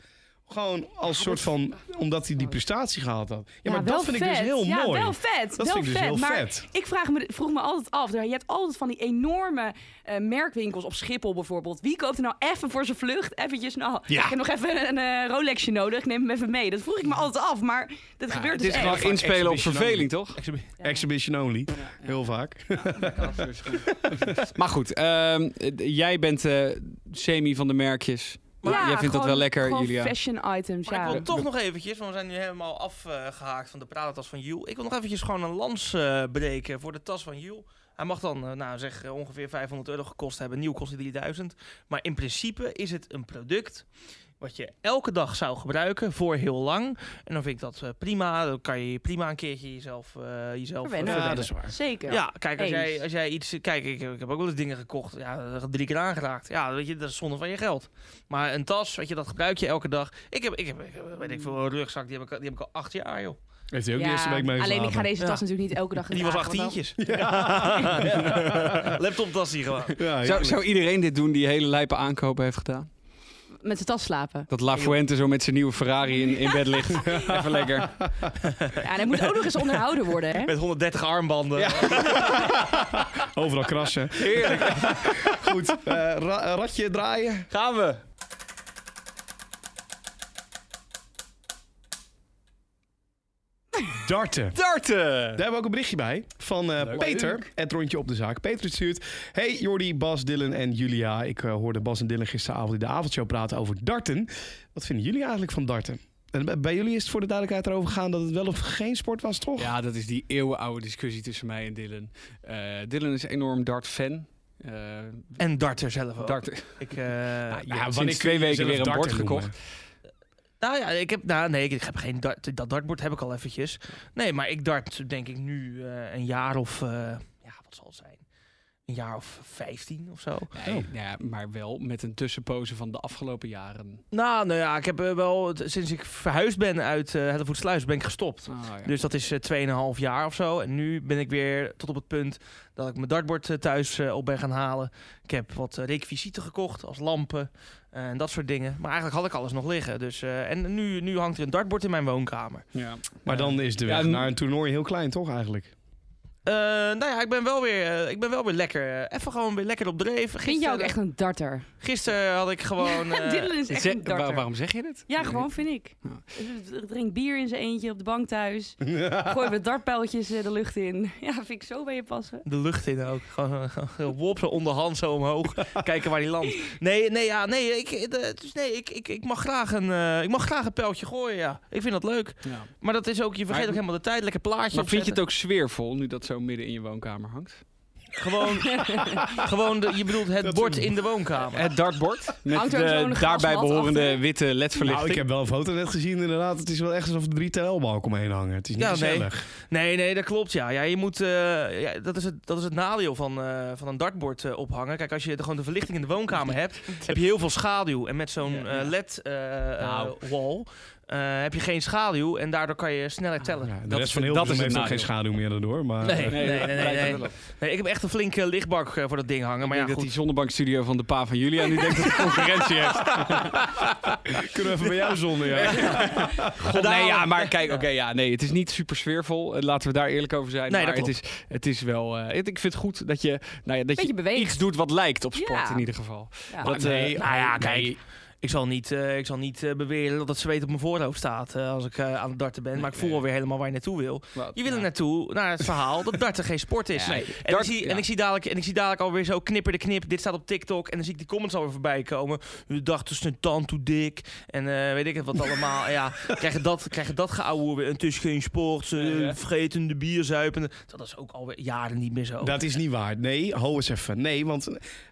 [SPEAKER 4] Gewoon als soort van, omdat hij die prestatie gehaald had. Ja, maar
[SPEAKER 5] wel
[SPEAKER 4] dat vind ik dus
[SPEAKER 5] vet.
[SPEAKER 4] heel
[SPEAKER 5] ja,
[SPEAKER 4] mooi.
[SPEAKER 5] Wel vet.
[SPEAKER 4] Dat
[SPEAKER 5] wel
[SPEAKER 4] vind ik dus
[SPEAKER 5] vet.
[SPEAKER 4] heel
[SPEAKER 5] maar
[SPEAKER 4] vet.
[SPEAKER 5] Ik vraag me, vroeg me altijd af. Je hebt altijd van die enorme eh, merkwinkels op Schiphol bijvoorbeeld. Wie koopt er nou even voor zijn vlucht? Eventjes, nou,
[SPEAKER 4] Ja.
[SPEAKER 5] ik heb nog even een eh, Rolexje nodig. Ik neem hem even mee. Dat vroeg ik me altijd af. Maar dat gebeurt
[SPEAKER 2] Het
[SPEAKER 5] dus
[SPEAKER 2] is
[SPEAKER 5] echt.
[SPEAKER 2] gewoon
[SPEAKER 4] echt.
[SPEAKER 2] inspelen op
[SPEAKER 4] Exhibition
[SPEAKER 2] verveling, toch?
[SPEAKER 4] Exhibition only, heel vaak.
[SPEAKER 2] Maar goed, ehm, eh, jij bent eh, semi van de merkjes. Maar jij
[SPEAKER 5] Ja,
[SPEAKER 2] vindt dat
[SPEAKER 5] gewoon-
[SPEAKER 2] wel lekker,
[SPEAKER 5] gewoon
[SPEAKER 2] Julia.
[SPEAKER 5] fashion items,
[SPEAKER 3] Maar
[SPEAKER 5] ja.
[SPEAKER 3] ik wil toch nog eventjes, want we zijn nu helemaal afgehaakt van de pratentas van Jules. Ik wil nog eventjes gewoon een lans eh, breken voor de tas van Jules. Hij mag dan, eh, nou zeg, eh, ongeveer 500 euro gekost hebben. Nieuw kost hij 3000. Maar in principe is het een product wat je elke dag zou gebruiken voor heel lang. En dan vind ik dat eh, prima. Dan kan je prima een keertje jezelf, eh, jezelf
[SPEAKER 5] Verwennen.
[SPEAKER 4] Ja,
[SPEAKER 3] verwennen.
[SPEAKER 4] dat is waar.
[SPEAKER 5] Zeker.
[SPEAKER 3] Ja, kijk, als
[SPEAKER 5] Eens.
[SPEAKER 3] jij, als jij iets... Kijk, ik, heb- ik heb ook wel eens dingen gekocht. Ja, drie keer aangeraakt. Ja, weet je, dat is zonde van je geld. Maar een tas, weet je, dat gebruik je elke dag. Ik heb, ik heb, ik heb- weet ik veel, een rugzak. Die heb, ik, die heb ik al acht jaar, joh.
[SPEAKER 4] Heeft hij ook
[SPEAKER 5] Ja,
[SPEAKER 4] de eerste week mee
[SPEAKER 5] alleen ik ga deze tas
[SPEAKER 3] Ja.
[SPEAKER 5] natuurlijk niet elke dag
[SPEAKER 3] Die was
[SPEAKER 5] dragen, want dan-
[SPEAKER 3] achttientjes.
[SPEAKER 4] [LAUGHS]
[SPEAKER 3] Ja. [LAUGHS] Laptoptas die gewoon.
[SPEAKER 4] Ja,
[SPEAKER 2] Zou,
[SPEAKER 4] heerlijk.
[SPEAKER 2] zou iedereen dit doen die hele lijpe aankopen heeft gedaan?
[SPEAKER 5] Met de
[SPEAKER 4] [LAUGHS]
[SPEAKER 5] tas slapen.
[SPEAKER 2] Dat La Fuente zo met zijn nieuwe Ferrari in, in bed ligt. Even lekker.
[SPEAKER 5] Ja, en hij moet ook nog eens onderhouden worden, hè?
[SPEAKER 3] Met 130 armbanden.
[SPEAKER 4] Overal krassen.
[SPEAKER 2] Heerlijk.
[SPEAKER 4] Goed, eh, ra- eh, ratje draaien.
[SPEAKER 2] Gaan we.
[SPEAKER 4] Darten.
[SPEAKER 2] Darten!
[SPEAKER 4] Daar hebben we ook een berichtje bij van eh, Peter, het rondje op de zaak. Peter stuurt, hey Jordi, Bas, Dylan en Julia. Ik eh, hoorde Bas en Dylan gisteravond in de avondshow praten over darten. Wat vinden jullie eigenlijk van darten? En bij- bij jullie is het voor de duidelijkheid erover gegaan dat het wel of geen sport was, toch?
[SPEAKER 2] Ja, dat is die eeuwenoude discussie tussen mij en Dylan. Eh, Dylan is een enorm dart-fan. Eh
[SPEAKER 3] En darter zelf ook.
[SPEAKER 2] dart,
[SPEAKER 3] Ik, eh,
[SPEAKER 2] nou,
[SPEAKER 4] ja,
[SPEAKER 2] je hebt
[SPEAKER 4] wanneer
[SPEAKER 2] Oh. sinds
[SPEAKER 4] kun je
[SPEAKER 2] twee weken
[SPEAKER 4] jezelf
[SPEAKER 2] weer een bord
[SPEAKER 4] darter noemen?
[SPEAKER 2] gekocht.
[SPEAKER 3] nou ja, ik heb, nou, nee, ik heb geen dart, dat dartbord heb ik al eventjes. Nee, maar ik dart denk ik nu eh, een jaar of, eh, ja, wat zal het zijn? Een jaar of 15 of zo.
[SPEAKER 2] Nee, nou ja, maar wel met een tussenpoze van de afgelopen jaren.
[SPEAKER 3] Nou, nou ja, ik heb eh, wel t- sinds ik verhuisd ben uit eh Hellevoetsluis ben ik gestopt.
[SPEAKER 2] Dus,
[SPEAKER 3] Dus dat is eh 2,5 jaar of zo. En nu ben ik weer tot op het punt dat ik mijn dartbord eh, thuis eh, op ben gaan halen. Ik heb wat eh, requisieten gekocht, als lampen eh, en dat soort dingen. Maar eigenlijk had ik alles nog liggen. Dus, eh, en nu, nu hangt er een dartbord in mijn woonkamer.
[SPEAKER 2] ja.
[SPEAKER 4] Maar dan is de
[SPEAKER 2] Ja,
[SPEAKER 4] weg
[SPEAKER 2] en-
[SPEAKER 4] naar een toernooi heel klein, toch eigenlijk?
[SPEAKER 3] Eh, nou ja, ik ben wel weer, eh, ik ben wel weer lekker. eh, even gewoon weer lekker op dreef.
[SPEAKER 5] Vind je ook
[SPEAKER 3] Gisteren-
[SPEAKER 5] echt een darter?
[SPEAKER 3] Gisteren had ik gewoon.
[SPEAKER 5] [LAUGHS]
[SPEAKER 3] eh,
[SPEAKER 5] Dylan is echt
[SPEAKER 2] Zeg-
[SPEAKER 5] een
[SPEAKER 2] waar-
[SPEAKER 5] darter.
[SPEAKER 2] waarom zeg je dit?
[SPEAKER 5] Ja, gewoon vind ik. Drink bier in zijn eentje op de
[SPEAKER 4] [LAUGHS]
[SPEAKER 5] bank thuis. Gooi wat dartpijltjes eh, de lucht in. [LAUGHS] Ja, vind ik zo bij je passen.
[SPEAKER 3] De lucht in ook. Gewoon eh, woppen onderhand zo omhoog. [LAUGHS] Kijken waar die landt. Nee, nee, ja, nee. Ik, eh, dus nee, ik, ik, ik, mag graag een, eh, ik mag graag een pijltje gooien, ja. Ik vind dat leuk.
[SPEAKER 2] Ja.
[SPEAKER 3] Maar dat is ook, je vergeet
[SPEAKER 2] Maar-
[SPEAKER 3] ook helemaal de tijd. Lekker plaatje
[SPEAKER 2] Maar vind je het
[SPEAKER 3] opzetten.
[SPEAKER 2] ook sfeervol nu dat zo midden in je woonkamer hangt? [LAUGHS]
[SPEAKER 3] Gewoon, gewoon de, je bedoelt het
[SPEAKER 4] Dat
[SPEAKER 3] bord
[SPEAKER 4] is-
[SPEAKER 3] in de woonkamer.
[SPEAKER 2] Het dartbord met
[SPEAKER 5] Hangt er ook zo'n
[SPEAKER 2] de
[SPEAKER 5] glasmat
[SPEAKER 2] daarbij behorende
[SPEAKER 5] achter?
[SPEAKER 2] witte
[SPEAKER 4] Nou, ik
[SPEAKER 2] ledverlichting.
[SPEAKER 4] heb wel een foto net gezien inderdaad. Het is wel echt alsof er drie TL-balken omheen hangen. Het is niet
[SPEAKER 3] Ja, nee.
[SPEAKER 4] gezellig.
[SPEAKER 3] Nee, nee, dat klopt, ja. ja, je moet, eh, ja dat, is het, dat is het nadeel van, eh, van een dartbord eh, ophangen. Kijk, als je de, gewoon de verlichting in de
[SPEAKER 2] [LAUGHS]
[SPEAKER 3] woonkamer hebt, heb je heel veel schaduw. En met zo'n eh,
[SPEAKER 2] Ja, ja. Nou.
[SPEAKER 3] LED-wall eh, heb je geen schaduw en daardoor kan je sneller tellen.
[SPEAKER 4] Ja, de
[SPEAKER 2] Dat
[SPEAKER 4] rest
[SPEAKER 2] is-
[SPEAKER 4] van heel
[SPEAKER 2] dat
[SPEAKER 4] veel
[SPEAKER 2] is het
[SPEAKER 4] heeft ook geen
[SPEAKER 2] nadeel.
[SPEAKER 4] schaduw meer daardoor. Maar [LAUGHS]
[SPEAKER 3] Nee,
[SPEAKER 4] eh,
[SPEAKER 3] nee, nee, nee, nee, nee. ik heb echt een flinke lichtbak eh, voor dat ding hangen. Maar ja,
[SPEAKER 2] ik denk dat
[SPEAKER 3] goed.
[SPEAKER 2] die zonnebankstudio van de pa van Julia
[SPEAKER 5] [LAUGHS]
[SPEAKER 2] nu denkt dat hij concurrentie heeft.
[SPEAKER 4] [LAUGHS] kunnen we even bij jou zonder. Ja.
[SPEAKER 2] nee, ja, maar kijk, oké, ja, nee, het is niet super sfeervol. Eh, Laten we daar eerlijk over zijn.
[SPEAKER 3] Nee,
[SPEAKER 2] maar
[SPEAKER 3] dat
[SPEAKER 2] het is, het is wel. eh, het- ik vind het goed dat je, nou ja, dat
[SPEAKER 5] Beetje
[SPEAKER 2] je
[SPEAKER 5] beweegt.
[SPEAKER 2] iets doet wat lijkt op sport
[SPEAKER 5] Ja.
[SPEAKER 2] in ieder geval.
[SPEAKER 5] Ja.
[SPEAKER 2] Dat, eh,
[SPEAKER 4] nee,
[SPEAKER 3] Nou ja, kijk. Ik zal niet, eh, ik zal niet eh, beweren dat het zweet op mijn voorhoofd staat eh, als ik eh, aan het darten ben. maar ik voel
[SPEAKER 2] nee.
[SPEAKER 3] alweer helemaal waar je naartoe wil.
[SPEAKER 2] wat-
[SPEAKER 3] Je wil er
[SPEAKER 2] ja.
[SPEAKER 3] naartoe, naar het verhaal dat darten geen sport is.
[SPEAKER 2] Nee,
[SPEAKER 3] En,
[SPEAKER 2] dart-
[SPEAKER 3] ik zie,
[SPEAKER 2] ja.
[SPEAKER 3] en, ik zie dadelijk, en ik zie dadelijk alweer zo knipper de knip. Dit staat op TikTok. En dan zie ik die comments alweer voorbij komen. U dacht, het is een tand toe dik. En eh, weet ik het wat allemaal. En ja, krijg je dat, krijg je dat geouwe weer. Het is geen sport. Ze
[SPEAKER 2] Ja, ja.
[SPEAKER 3] vreten de bier zuipen. Dat is ook alweer jaren niet meer zo.
[SPEAKER 4] Dat is niet waar. Nee, ho eens even. Nee, want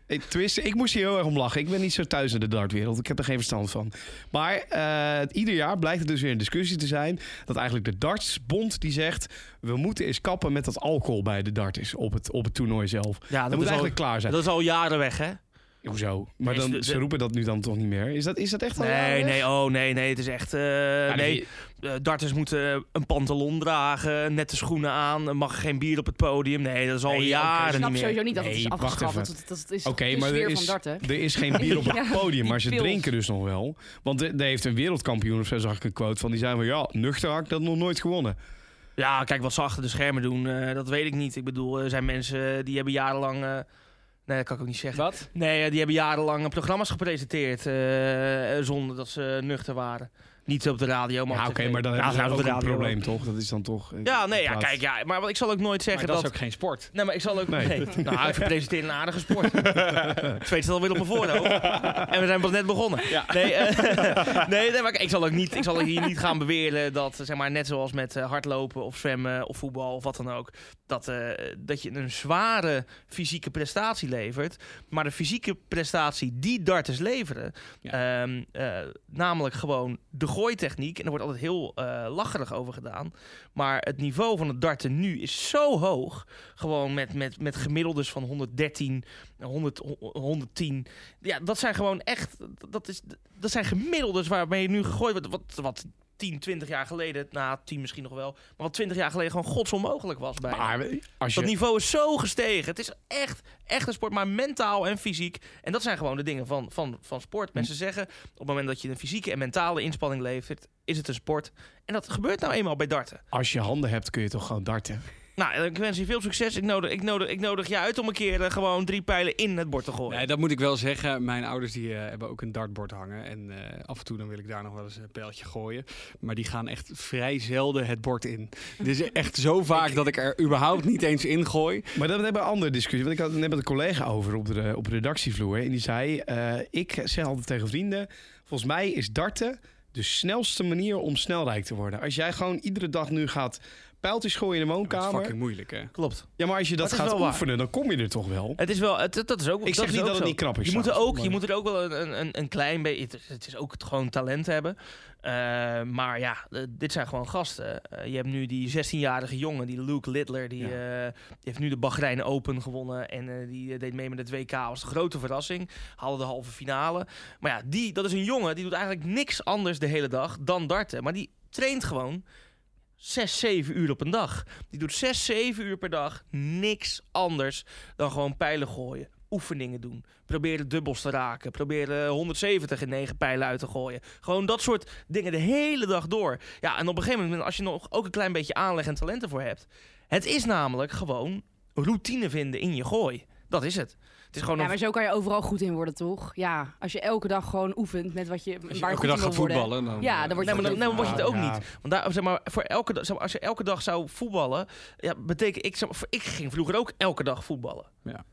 [SPEAKER 4] eh, tenminste, ik moest hier heel erg om lachen. Ik ben niet zo thuis in de dartwereld. Ik heb er geen verstand van. Maar eh, ieder jaar blijkt er dus weer een discussie te zijn... dat eigenlijk de dartsbond die zegt... we moeten eens kappen met dat alcohol bij de darters op het, op het toernooi zelf. Dat,
[SPEAKER 3] ja, Ah, dat,
[SPEAKER 4] moet
[SPEAKER 3] is al,
[SPEAKER 4] eigenlijk klaar zijn.
[SPEAKER 3] dat is al jaren weg, hè?
[SPEAKER 4] Hoezo? Maar
[SPEAKER 3] Nee,
[SPEAKER 4] dan,
[SPEAKER 3] ze-
[SPEAKER 4] ze roepen dat nu dan toch niet meer? Is dat, is dat echt al
[SPEAKER 3] Nee,
[SPEAKER 4] jaren weg?
[SPEAKER 3] nee, oh nee, nee. Het is echt. eh,
[SPEAKER 4] Ja,
[SPEAKER 3] nee,
[SPEAKER 4] dat-
[SPEAKER 3] Eh, darters moeten een pantalon dragen, nette schoenen aan, er mag geen bier op het podium. Nee, dat is al
[SPEAKER 4] Nee, oké,
[SPEAKER 5] Ik
[SPEAKER 3] jaren
[SPEAKER 5] snap
[SPEAKER 3] niet meer.
[SPEAKER 5] sowieso niet dat
[SPEAKER 4] Nee,
[SPEAKER 5] het is
[SPEAKER 4] wacht
[SPEAKER 5] afgeschaft.
[SPEAKER 4] even.
[SPEAKER 5] want Dat, dat, dat is
[SPEAKER 4] Oké,
[SPEAKER 5] de
[SPEAKER 4] maar
[SPEAKER 5] sfeer
[SPEAKER 4] er
[SPEAKER 5] van
[SPEAKER 4] is,
[SPEAKER 5] darten.
[SPEAKER 4] er is geen
[SPEAKER 3] [LAUGHS]
[SPEAKER 4] bier op het
[SPEAKER 5] Ja,
[SPEAKER 4] podium,
[SPEAKER 5] die
[SPEAKER 4] maar ze
[SPEAKER 5] pils.
[SPEAKER 4] drinken dus nog wel. Want er er heeft een wereldkampioen of zo, zag ik een quote van. Die zei van, ja, nuchter had ik dat nog nooit gewonnen.
[SPEAKER 3] Ja, kijk, wat ze achter de schermen doen, eh, dat weet ik niet. Ik bedoel, er zijn mensen eh, die hebben jarenlang... eh, nee, dat kan ik ook niet zeggen.
[SPEAKER 2] Wat?
[SPEAKER 3] Nee, eh, die hebben jarenlang eh, programma's gepresenteerd eh, eh, zonder dat ze nuchter waren. Niet op de radio, maar
[SPEAKER 4] Ja,
[SPEAKER 3] op
[SPEAKER 4] oké,
[SPEAKER 3] tv.
[SPEAKER 4] maar dan
[SPEAKER 3] Ja,
[SPEAKER 4] hebben ze
[SPEAKER 3] nou,
[SPEAKER 4] ook
[SPEAKER 3] op de
[SPEAKER 4] een
[SPEAKER 3] radio
[SPEAKER 4] probleem,
[SPEAKER 3] ook.
[SPEAKER 4] toch? Dat is dan toch... eh,
[SPEAKER 3] Ja, nee, ja,
[SPEAKER 4] plaats-
[SPEAKER 3] kijk, ja, maar wat- ik zal ook nooit zeggen
[SPEAKER 2] Maar dat
[SPEAKER 3] dat...
[SPEAKER 2] is ook geen sport.
[SPEAKER 3] Nee, maar ik zal ook...
[SPEAKER 4] Nee.
[SPEAKER 3] Nee. Nou, ik presenteer een aardige sport. Het Zweet staat alweer op mijn voorhoofd. En we zijn pas net begonnen. Nee, eh, [LAUGHS] nee, nee, maar ik- ik zal, ook niet, ik zal ook hier niet gaan beweren dat, eh, zeg maar, net zoals met eh, hardlopen of zwemmen of voetbal of wat dan ook, dat, eh, dat je een zware fysieke prestatie levert. Maar de fysieke prestatie die darters leveren, ehm, eh, namelijk gewoon de gooitechniek, en daar wordt altijd heel eh, lacherig over gedaan, maar het niveau van het darten nu is zo hoog, gewoon met, met, met gemiddeldes van 113, 100, 110. Ja, dat zijn gewoon echt, dat, is, dat zijn gemiddeldes waarmee je nu gegooid wordt. Wat, wat 10, 20 jaar geleden, na 10 misschien nog wel, maar wat 20 jaar geleden gewoon godsonmogelijk was bij.
[SPEAKER 4] Maar als je...
[SPEAKER 3] Dat niveau is zo gestegen. Het is echt, echt een sport, maar mentaal en fysiek. En dat zijn gewoon de dingen van, van, van sport.
[SPEAKER 2] Hm.
[SPEAKER 3] Mensen zeggen, op het moment dat je een fysieke en mentale inspanning levert, is het een sport. En dat gebeurt nou eenmaal bij darten.
[SPEAKER 4] Als je handen hebt, kun je toch gewoon darten?
[SPEAKER 3] Nou, ik wens je veel succes. Ik nodig, ik nodig, ik nodig je uit om een keer eh, gewoon drie pijlen in het bord te gooien.
[SPEAKER 2] Nee, dat moet ik wel zeggen. Mijn ouders die, eh, hebben ook een dartbord hangen. En eh, af en toe dan wil ik daar nog wel eens een pijltje gooien. Maar die gaan echt vrij zelden het bord in. Het is echt zo vaak dat ik er überhaupt niet eens in gooi.
[SPEAKER 4] Maar dat hebben we een andere discussie. Want ik had het net met een collega over op de, op de redactievloer. En die zei, eh, ik zeg altijd tegen vrienden... Volgens mij is darten de snelste manier om snelrijk te worden. Als jij gewoon iedere dag nu gaat pijltjes gooien in de
[SPEAKER 2] Dat is
[SPEAKER 4] woonkamer...
[SPEAKER 2] fucking moeilijk, hè?
[SPEAKER 3] Klopt.
[SPEAKER 4] Ja, maar als je dat
[SPEAKER 3] Dat is
[SPEAKER 4] gaat
[SPEAKER 3] wel waar.
[SPEAKER 4] oefenen, dan kom je er toch wel.
[SPEAKER 3] Het is wel, het, dat is ook.
[SPEAKER 4] Ik zeg
[SPEAKER 3] is
[SPEAKER 4] niet
[SPEAKER 3] ook
[SPEAKER 4] dat het
[SPEAKER 3] zo.
[SPEAKER 4] niet knap is
[SPEAKER 3] Je moet er
[SPEAKER 4] trouwens,
[SPEAKER 3] ook, je
[SPEAKER 4] maar-
[SPEAKER 3] moet er ook wel een, een, een klein beetje. Het, is- het is ook het gewoon talent hebben. Eh, maar ja, eh, dit zijn gewoon gasten. Eh, je hebt nu die 16-jarige jongen, die Luke Littler, die,
[SPEAKER 4] Ja.
[SPEAKER 3] eh, die heeft nu de Bahrein Open gewonnen. En eh, die eh, deed mee met het WK als de grote verrassing. Haalde de halve finale. Maar ja, die, dat is een jongen die doet eigenlijk niks anders de hele dag dan darten. Maar die traint gewoon 6, 7 uur op een dag. Die doet 6, 7 uur per dag niks anders dan gewoon pijlen gooien. oefeningen doen. Proberen dubbels te raken. Proberen 170 in negen pijlen uit te gooien. Gewoon dat soort dingen de hele dag door. Ja, en op een gegeven moment, als je nog ook een klein beetje aanleg en talent ervoor hebt. Het is namelijk gewoon routine vinden in je gooi. Dat is het. Het is gewoon
[SPEAKER 5] Ja,
[SPEAKER 3] een
[SPEAKER 5] maar zo kan je overal goed in worden, toch? Ja, als je elke dag gewoon oefent met wat je, waar
[SPEAKER 2] Als je
[SPEAKER 5] je
[SPEAKER 2] elke
[SPEAKER 5] goed
[SPEAKER 2] dag
[SPEAKER 5] in wil
[SPEAKER 2] gaat
[SPEAKER 5] worden. Nou,
[SPEAKER 2] voetballen, dan,
[SPEAKER 5] Ja,
[SPEAKER 2] eh,
[SPEAKER 5] dan word je
[SPEAKER 3] Nee, maar dan, nee,
[SPEAKER 5] goed
[SPEAKER 3] maar word je het ook
[SPEAKER 4] Ja.
[SPEAKER 3] niet. Want daar, zeg maar, voor elke dag, zeg maar, als je elke dag zou voetballen, ja, betekent ik, zeg maar, voor- ik ging vroeger ook elke dag voetballen.
[SPEAKER 2] Ja.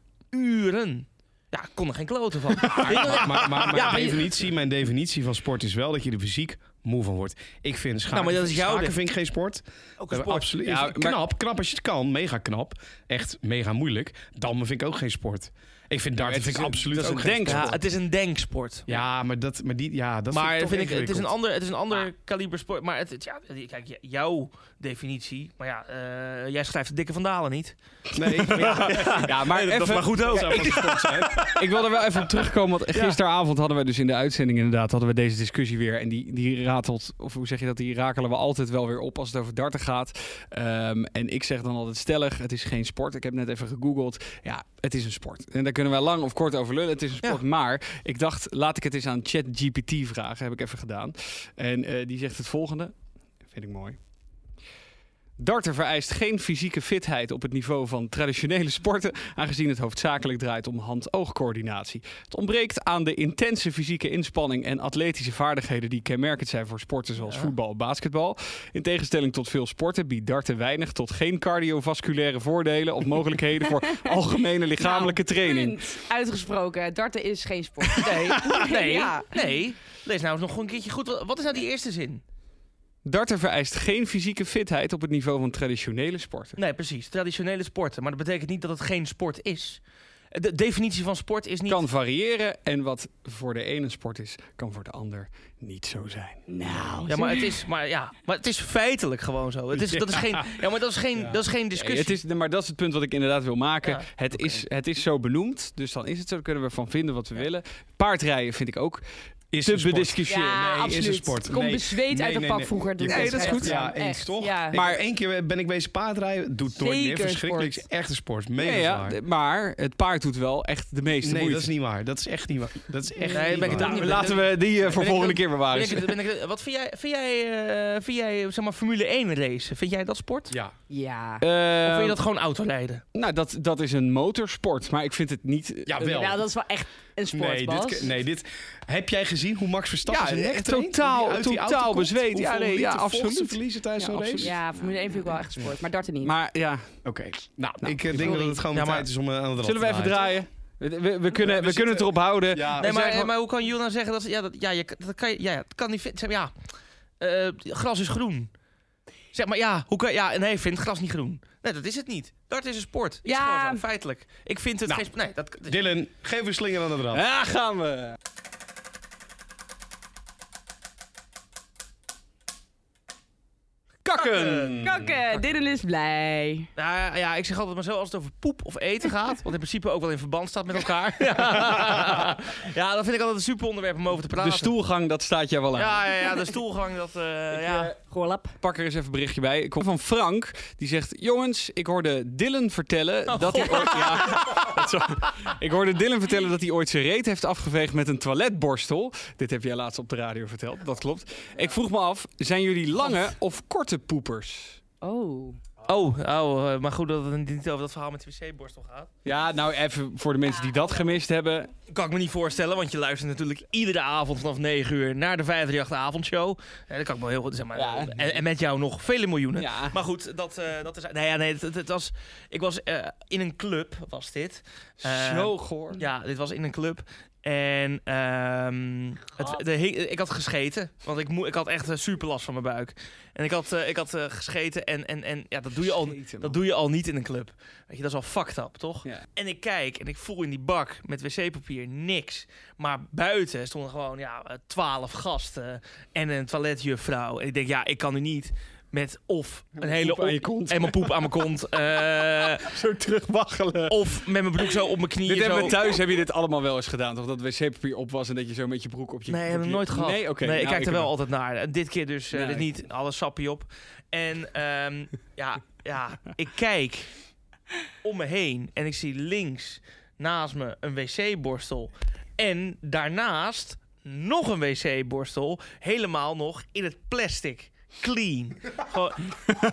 [SPEAKER 3] Uren. Ja, ik kon er geen kloten
[SPEAKER 4] [LAUGHS]
[SPEAKER 3] van.
[SPEAKER 4] Maar, maar,
[SPEAKER 3] [LAUGHS]
[SPEAKER 4] maar
[SPEAKER 3] Ja, maar je-
[SPEAKER 4] definitie, mijn definitie van sport is wel dat je er fysiek moe van wordt. Ik vind schaken,
[SPEAKER 3] Nou, maar dat is jouw
[SPEAKER 4] schaken
[SPEAKER 3] ding.
[SPEAKER 4] vind ik geen sport.
[SPEAKER 3] ook een
[SPEAKER 4] Eh,
[SPEAKER 3] sport.
[SPEAKER 4] Absoluut.
[SPEAKER 2] Ja,
[SPEAKER 4] Ja,
[SPEAKER 2] maar-
[SPEAKER 4] knap, knap als je het kan. Mega knap. Echt mega moeilijk. Dammen vind ik ook geen sport. Ik vind darten
[SPEAKER 2] het
[SPEAKER 4] vind
[SPEAKER 2] is
[SPEAKER 4] ik
[SPEAKER 2] een-
[SPEAKER 4] absoluut
[SPEAKER 2] dat is
[SPEAKER 4] ook
[SPEAKER 2] een
[SPEAKER 4] geen
[SPEAKER 2] denksport.
[SPEAKER 4] sport.
[SPEAKER 3] Ja, het is een denksport.
[SPEAKER 4] Ja, maar dat, maar die, ja, dat
[SPEAKER 3] maar
[SPEAKER 4] vind ik,
[SPEAKER 3] vind ik,
[SPEAKER 4] toch
[SPEAKER 3] het is een
[SPEAKER 4] ingewikkeld.
[SPEAKER 3] ander, het is een ander kaliber sport. Maar het, het- ja, kijk, j- jouw definitie. Maar ja, eh, jij schrijft de dikke vandalen niet.
[SPEAKER 4] Nee, [LAUGHS] ja,
[SPEAKER 2] Ja, maar
[SPEAKER 4] dat is
[SPEAKER 2] even-
[SPEAKER 4] maar goed ook. Zou van sport zijn.
[SPEAKER 2] Ik wil er wel even op terugkomen,
[SPEAKER 4] [LAUGHS]
[SPEAKER 2] want gisteravond hadden we dus in de uitzending inderdaad hadden we deze discussie weer. En die, die ratelt, of hoe zeg je dat, die rakelen we altijd wel weer op als het over darten gaat. Ehm, en ik zeg dan altijd stellig, het is geen sport. Ik heb net even gegoogeld, ja, het is een sport. En daar kunnen wij lang of kort over lullen, het is een sport. Maar ik dacht, laat ik het eens aan ChatGPT vragen, heb ik even gedaan. En eh, die zegt het volgende, vind ik mooi. Darten vereist geen fysieke fitheid op het niveau van traditionele sporten, aangezien het hoofdzakelijk draait om hand-oogcoördinatie. Het ontbreekt aan de intense fysieke inspanning en atletische vaardigheden die kenmerkend zijn voor sporten zoals voetbal en basketbal. In tegenstelling tot veel sporten biedt darten weinig tot geen cardiovasculaire voordelen of mogelijkheden voor algemene lichamelijke
[SPEAKER 5] Nou,
[SPEAKER 2] training.
[SPEAKER 5] punt. Uitgesproken, darten is
[SPEAKER 4] [LAUGHS]
[SPEAKER 5] geen sport.
[SPEAKER 3] Nee, [LAUGHS] nee,
[SPEAKER 5] Ja.
[SPEAKER 3] nee. Lees nou eens nog een keertje goed. Wat- Wat is nou die eerste zin?
[SPEAKER 2] Darten vereist geen fysieke fitheid op het niveau van traditionele sporten.
[SPEAKER 3] Nee, precies. Traditionele sporten. Maar dat betekent niet dat het geen sport is. De definitie van sport is niet...
[SPEAKER 2] Kan variëren en wat voor de ene sport is, kan voor de ander niet zo zijn.
[SPEAKER 5] nou,
[SPEAKER 3] Ja, maar het is, maar ja, maar het is feitelijk gewoon zo. Het is, dat is geen, ja, maar dat is geen, dat is geen discussie.
[SPEAKER 2] Nee, het is, nee, maar dat is het punt wat ik inderdaad wil maken.
[SPEAKER 3] Ja.
[SPEAKER 2] Het, is, het is zo benoemd, dus dan is het zo. Daar kunnen we van vinden wat we willen. Paardrijden vind ik ook
[SPEAKER 4] Is
[SPEAKER 2] te
[SPEAKER 4] een sport.
[SPEAKER 2] bediscussiëren.
[SPEAKER 4] Nee,
[SPEAKER 5] Ja,
[SPEAKER 4] is een
[SPEAKER 5] absoluut.
[SPEAKER 4] sport.
[SPEAKER 5] Kom
[SPEAKER 4] Nee.
[SPEAKER 5] bezweet
[SPEAKER 4] Nee,
[SPEAKER 5] uit
[SPEAKER 4] nee,
[SPEAKER 5] een pak
[SPEAKER 4] nee.
[SPEAKER 5] vroeger.
[SPEAKER 4] Je
[SPEAKER 5] doet
[SPEAKER 2] komt-
[SPEAKER 5] het
[SPEAKER 2] Nee, dat is
[SPEAKER 5] echt.
[SPEAKER 2] goed.
[SPEAKER 4] Ja, eens
[SPEAKER 5] echt.
[SPEAKER 4] toch?
[SPEAKER 5] Ja.
[SPEAKER 4] Maar één keer ben ik wezen paardrijden. Doet nooit meer.
[SPEAKER 5] Zeker
[SPEAKER 4] Verschrikkelijk.
[SPEAKER 5] sport.
[SPEAKER 4] Is echt een sport.
[SPEAKER 2] Ja,
[SPEAKER 4] Mega
[SPEAKER 2] ja,
[SPEAKER 4] zwaar.
[SPEAKER 2] d- maar het paard doet wel echt de meeste
[SPEAKER 4] Nee,
[SPEAKER 2] moeite.
[SPEAKER 4] dat is niet waar. Dat is echt niet waar. Dat is echt
[SPEAKER 3] Nee, ben
[SPEAKER 4] niet
[SPEAKER 3] ik het
[SPEAKER 4] waar.
[SPEAKER 3] ook niet
[SPEAKER 2] Nou, Laten we die eh, voor
[SPEAKER 3] ik
[SPEAKER 2] volgende
[SPEAKER 3] ook-
[SPEAKER 2] keer bewaren.
[SPEAKER 3] Ben ik, ben ik, wat vind jij, vind jij, eh, vind jij zeg maar Formule 1 racen? Vind jij dat sport?
[SPEAKER 4] Ja.
[SPEAKER 5] Ja.
[SPEAKER 2] Eh,
[SPEAKER 3] Of vind je dat gewoon autorijden?
[SPEAKER 2] Nou, dat, dat is een motorsport, maar ik vind het niet...
[SPEAKER 4] Ja, wel.
[SPEAKER 5] Ja, Nou, dat is wel echt een sport,
[SPEAKER 4] nee, dit,
[SPEAKER 5] Bas.
[SPEAKER 4] ke- nee, dit... Heb jij gezien hoe Max Verstappen
[SPEAKER 2] Ja,
[SPEAKER 4] zijn
[SPEAKER 2] eh,
[SPEAKER 4] nek traint?
[SPEAKER 2] totaal-
[SPEAKER 4] Hoe die uit die
[SPEAKER 2] totaal
[SPEAKER 4] auto komt?
[SPEAKER 2] bezweet.
[SPEAKER 4] Hoeveel
[SPEAKER 2] Ja, nee, ja,
[SPEAKER 4] liter vocht ze
[SPEAKER 2] absoluut.
[SPEAKER 4] verliezen tijdens
[SPEAKER 2] Ja,
[SPEAKER 4] zo'n race?
[SPEAKER 2] absoluut.
[SPEAKER 5] Ja, Formule 1 vind ik wel echt sport, maar darten niet.
[SPEAKER 2] Maar ja,
[SPEAKER 4] Oké. Nou, ik eh, denk
[SPEAKER 5] Sorry.
[SPEAKER 4] dat het gewoon
[SPEAKER 3] Ja, maar-
[SPEAKER 4] tijd is om eh, aan de rand
[SPEAKER 2] zullen we
[SPEAKER 4] te
[SPEAKER 2] even
[SPEAKER 4] draaien.
[SPEAKER 2] draaien? We, we- we kunnen, we
[SPEAKER 4] zitten-
[SPEAKER 2] kunnen het erop houden.
[SPEAKER 4] Ja,
[SPEAKER 3] Nee,
[SPEAKER 4] we
[SPEAKER 3] maar,
[SPEAKER 4] zijn gewoon-
[SPEAKER 3] maar hoe kan Jules nou zeggen dat ze- ja, dat, ja, je, dat kan je, ja, ja, het kan niet fit- zeg maar, ja, eh, gras is groen. Zeg maar ja, hoe kan, ja, en nee, ik vind gras niet groen. Nee, dat is het niet. Dat is een sport. Het is
[SPEAKER 5] Ja.
[SPEAKER 3] gewoon zo, feitelijk. Ik vind het
[SPEAKER 4] Nou,
[SPEAKER 3] geen sp- Nee, dat, dat-
[SPEAKER 4] Dylan, geef een slinger aan de rand.
[SPEAKER 2] Daar gaan we. Kakken.
[SPEAKER 5] Kakken, Dylan is blij.
[SPEAKER 3] Nou ja, ik zeg altijd maar zo als het over poep of eten gaat. Wat in principe ook wel in verband staat met elkaar.
[SPEAKER 4] [LAUGHS]
[SPEAKER 3] [LAUGHS] ja, dat vind ik altijd een super onderwerp om over te praten.
[SPEAKER 2] De stoelgang, dat staat jij wel aan.
[SPEAKER 3] Ja, ja, ja, de stoelgang. Dat, eh, ja.
[SPEAKER 5] Golap.
[SPEAKER 2] Pak er eens even een berichtje bij. Ik kom van Frank. Die zegt: Jongens, ik hoorde Dylan vertellen dat hij ooit. [LAUGHS] Ja, dat is wel- ik hoorde Dylan vertellen dat hij ooit zijn reet heeft afgeveegd met een toiletborstel. Dit heb jij laatst op de radio verteld. Dat klopt. Ik vroeg me af: zijn jullie lange of korte poepers?
[SPEAKER 5] [LAUGHS] Oh.
[SPEAKER 3] Oh, oh, eh, maar goed dat het niet over dat verhaal met de wc-borstel gaat.
[SPEAKER 2] Ja, nou even voor de mensen die dat gemist hebben.
[SPEAKER 3] Kan ik me niet voorstellen, want je luistert natuurlijk iedere avond vanaf 9 uur naar de 538 avondshow. Eh, dat kan ik wel heel goed, zeg maar.
[SPEAKER 2] Ja.
[SPEAKER 3] En, en met jou nog vele miljoenen.
[SPEAKER 2] Ja.
[SPEAKER 3] Maar goed, dat, eh, dat is... Nee, ja, nee, het, het- het was... Ik was eh, in een club, was dit. Eh,
[SPEAKER 2] Zo goor.
[SPEAKER 3] Ja, dit was in een club. En ehm, het, de, he- ik had gescheten, want ik, moe- ik had echt eh, super last van mijn buik. En ik had, eh, ik had eh, gescheten en, en, en ja, dat, doe je al,
[SPEAKER 2] Gescheten, man.
[SPEAKER 3] dat doe je al niet in een club. Weet je, dat is al fucked up, toch?
[SPEAKER 2] Ja.
[SPEAKER 3] En ik kijk en ik voel in die bak met wc-papier niks. Maar buiten stonden gewoon ja, eh, twaalf gasten en een toiletjuffrouw. En ik denk, ja, ik kan nu niet met of een hele...
[SPEAKER 2] poep aan
[SPEAKER 3] op-
[SPEAKER 2] je kont.
[SPEAKER 3] En mijn poep aan mijn kont. eh,
[SPEAKER 2] Zo terugwaggelen.
[SPEAKER 3] of met mijn broek zo op mijn knieën.
[SPEAKER 2] [LAUGHS] Dit hebben
[SPEAKER 3] zo.
[SPEAKER 2] we thuis heb je dit allemaal wel eens gedaan, toch? Dat wc-papier op was en dat je zo met je broek op je...
[SPEAKER 3] Nee,
[SPEAKER 2] op
[SPEAKER 3] heb ik
[SPEAKER 2] je-
[SPEAKER 3] nooit gehad.
[SPEAKER 2] Nee, oké.
[SPEAKER 3] nee, ik
[SPEAKER 2] nou,
[SPEAKER 3] kijk er
[SPEAKER 2] heb hem.
[SPEAKER 3] wel altijd naar. Eh, Dit keer dus eh,
[SPEAKER 2] Ja,
[SPEAKER 3] dit
[SPEAKER 2] ik-
[SPEAKER 3] niet. Alles sappie op. En ehm,
[SPEAKER 2] [LAUGHS]
[SPEAKER 3] ja, ja, ik kijk om me heen en ik zie links naast me een wc-borstel. En daarnaast nog een wc-borstel. Helemaal nog in het plastic. Clean. Gewoon-
[SPEAKER 5] Oh,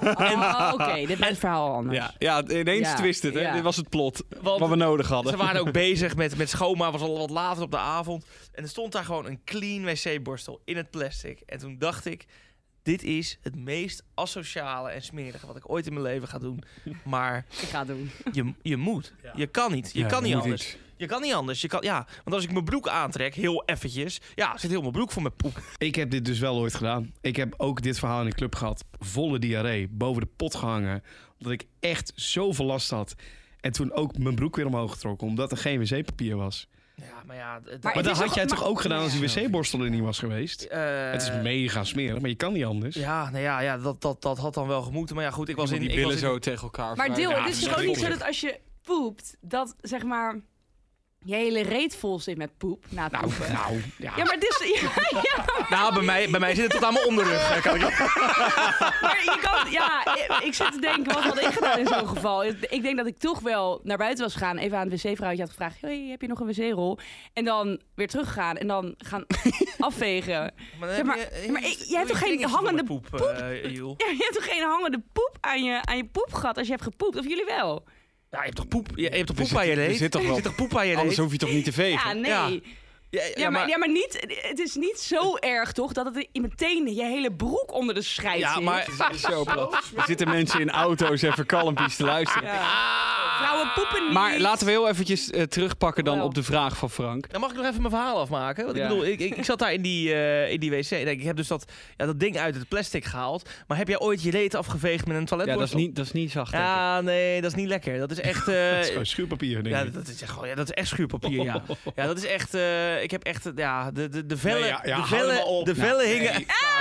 [SPEAKER 5] Oké, dit maakt het verhaal anders.
[SPEAKER 2] Ja, ja ineens
[SPEAKER 5] Ja,
[SPEAKER 2] twist het. Hè?
[SPEAKER 5] ja.
[SPEAKER 2] Dit was het plot
[SPEAKER 3] Want
[SPEAKER 2] wat we nodig hadden.
[SPEAKER 3] Ze waren ook bezig met, met schoonmaken, was al wat later op de avond. En er stond daar gewoon een clean wc-borstel in het plastic. En toen dacht ik, dit is het meest asociale en smerige wat ik ooit in mijn leven ga doen. Maar
[SPEAKER 5] Ik ga het doen.
[SPEAKER 3] je, je moet. Je kan niet. Je
[SPEAKER 2] Ja,
[SPEAKER 3] kan niet
[SPEAKER 2] moet
[SPEAKER 3] anders.
[SPEAKER 2] iets.
[SPEAKER 3] Je kan niet anders. Je kan, ja, want als ik mijn broek aantrek, heel eventjes, ja, zit heel mijn broek voor mijn poep.
[SPEAKER 4] Ik heb dit dus wel ooit gedaan. Ik heb ook dit verhaal in de club gehad. Volle diarree, boven de pot gehangen. Omdat ik echt zoveel last had. En toen ook mijn broek weer omhoog getrokken, omdat er geen wc-papier was.
[SPEAKER 3] Ja, maar ja... het-
[SPEAKER 5] Maar
[SPEAKER 4] Maar
[SPEAKER 5] Het
[SPEAKER 4] dat
[SPEAKER 5] is
[SPEAKER 4] had
[SPEAKER 5] toch-
[SPEAKER 4] jij toch
[SPEAKER 5] maar-
[SPEAKER 4] ook gedaan als die
[SPEAKER 2] Ja.
[SPEAKER 4] wc-borstel er niet was geweest?
[SPEAKER 3] eh,
[SPEAKER 4] het is mega smerig, maar je kan niet anders.
[SPEAKER 3] Ja, nou ja, ja dat, dat, dat had dan wel gemoeten. Maar ja, goed, ik was in...
[SPEAKER 2] die
[SPEAKER 3] ik was
[SPEAKER 2] billen
[SPEAKER 3] in-
[SPEAKER 2] zo tegen elkaar.
[SPEAKER 5] Maar deel,
[SPEAKER 2] Ja,
[SPEAKER 5] het is
[SPEAKER 2] dat
[SPEAKER 5] toch ook niet zo
[SPEAKER 2] onzin.
[SPEAKER 5] dat als je poept, dat zeg maar je hele reet vol zit met poep na het poepen.
[SPEAKER 2] eh,
[SPEAKER 4] Nou, ja.
[SPEAKER 5] Ja, maar, dit is, [LAUGHS] ja, ja,
[SPEAKER 2] Ah,
[SPEAKER 3] Nou, bij mij, bij mij zit het tot aan mijn onderrug. eh, Kan ik
[SPEAKER 5] maar je kan, ja, ik- ik zit te denken, wat had ik gedaan in zo'n geval? Ik denk dat ik toch wel naar buiten was gegaan, even aan het wc-vrouwtje had gevraagd, hey, heb je nog een wc-rol? En dan weer teruggegaan en dan gaan afvegen.
[SPEAKER 3] Maar, dan
[SPEAKER 5] Zeg maar-
[SPEAKER 3] heb je,
[SPEAKER 5] maar
[SPEAKER 3] je-
[SPEAKER 5] ik- jij hebt
[SPEAKER 3] doe je
[SPEAKER 5] toch geen
[SPEAKER 3] vingertjes door
[SPEAKER 5] hangende
[SPEAKER 3] de poep, eh, Joel?
[SPEAKER 5] [LAUGHS] Ja, je hebt toch geen hangende poep aan je, aan je poepgat als je hebt gepoept? Of jullie wel?
[SPEAKER 3] Ja, je hebt toch poep, je, je hebt toch poep
[SPEAKER 2] zit-
[SPEAKER 3] aan je
[SPEAKER 2] er
[SPEAKER 3] reet?
[SPEAKER 2] zit toch
[SPEAKER 3] [LAUGHS] Er
[SPEAKER 2] wel-
[SPEAKER 3] zit toch poep aan je
[SPEAKER 2] Anders
[SPEAKER 3] reet?
[SPEAKER 2] hoef je toch niet te vegen?
[SPEAKER 5] Ja,
[SPEAKER 3] Ja.
[SPEAKER 5] nee.
[SPEAKER 3] Ja,
[SPEAKER 5] Ja.
[SPEAKER 3] ja,
[SPEAKER 5] maar, ja, maar niet, het is niet zo erg toch dat het meteen je hele broek onder de schijf
[SPEAKER 3] [LAUGHS] Ja,
[SPEAKER 5] zit.
[SPEAKER 3] maar-
[SPEAKER 2] Zo plat. Er zitten mensen in auto's even kalmpjes te luisteren.
[SPEAKER 5] Vrouwen poepen niet.
[SPEAKER 2] Maar laten we heel eventjes eh, terugpakken dan
[SPEAKER 5] Wel.
[SPEAKER 2] op de vraag van Frank.
[SPEAKER 3] Dan mag ik nog even mijn verhaal afmaken. Want
[SPEAKER 2] Ja.
[SPEAKER 3] ik bedoel, ik, ik, ik zat daar in die, eh, in die wc. En ik heb dus dat, ja, dat ding uit het plastic gehaald. Maar heb jij ooit je reet afgeveegd met een
[SPEAKER 2] Ja, dat
[SPEAKER 3] toiletborstel?
[SPEAKER 2] is niet, dat is niet zacht. denk ik.
[SPEAKER 3] Ja, nee, dat is niet lekker. Dat is [LAUGHS] echt... eh,
[SPEAKER 4] Het is gewoon schuurpapier, denk
[SPEAKER 3] ja,
[SPEAKER 4] ik.
[SPEAKER 3] dat is echt, gewoon- ja, dat is echt schuurpapier, ja. [LAUGHS] Ja, dat is echt... eh, ik heb echt... eh, Ja, de, de, de vellen...
[SPEAKER 4] Nee, ja, ja,
[SPEAKER 3] de
[SPEAKER 4] hou maar
[SPEAKER 3] vellen,
[SPEAKER 4] op.
[SPEAKER 3] de vellen hingen...
[SPEAKER 5] Ah,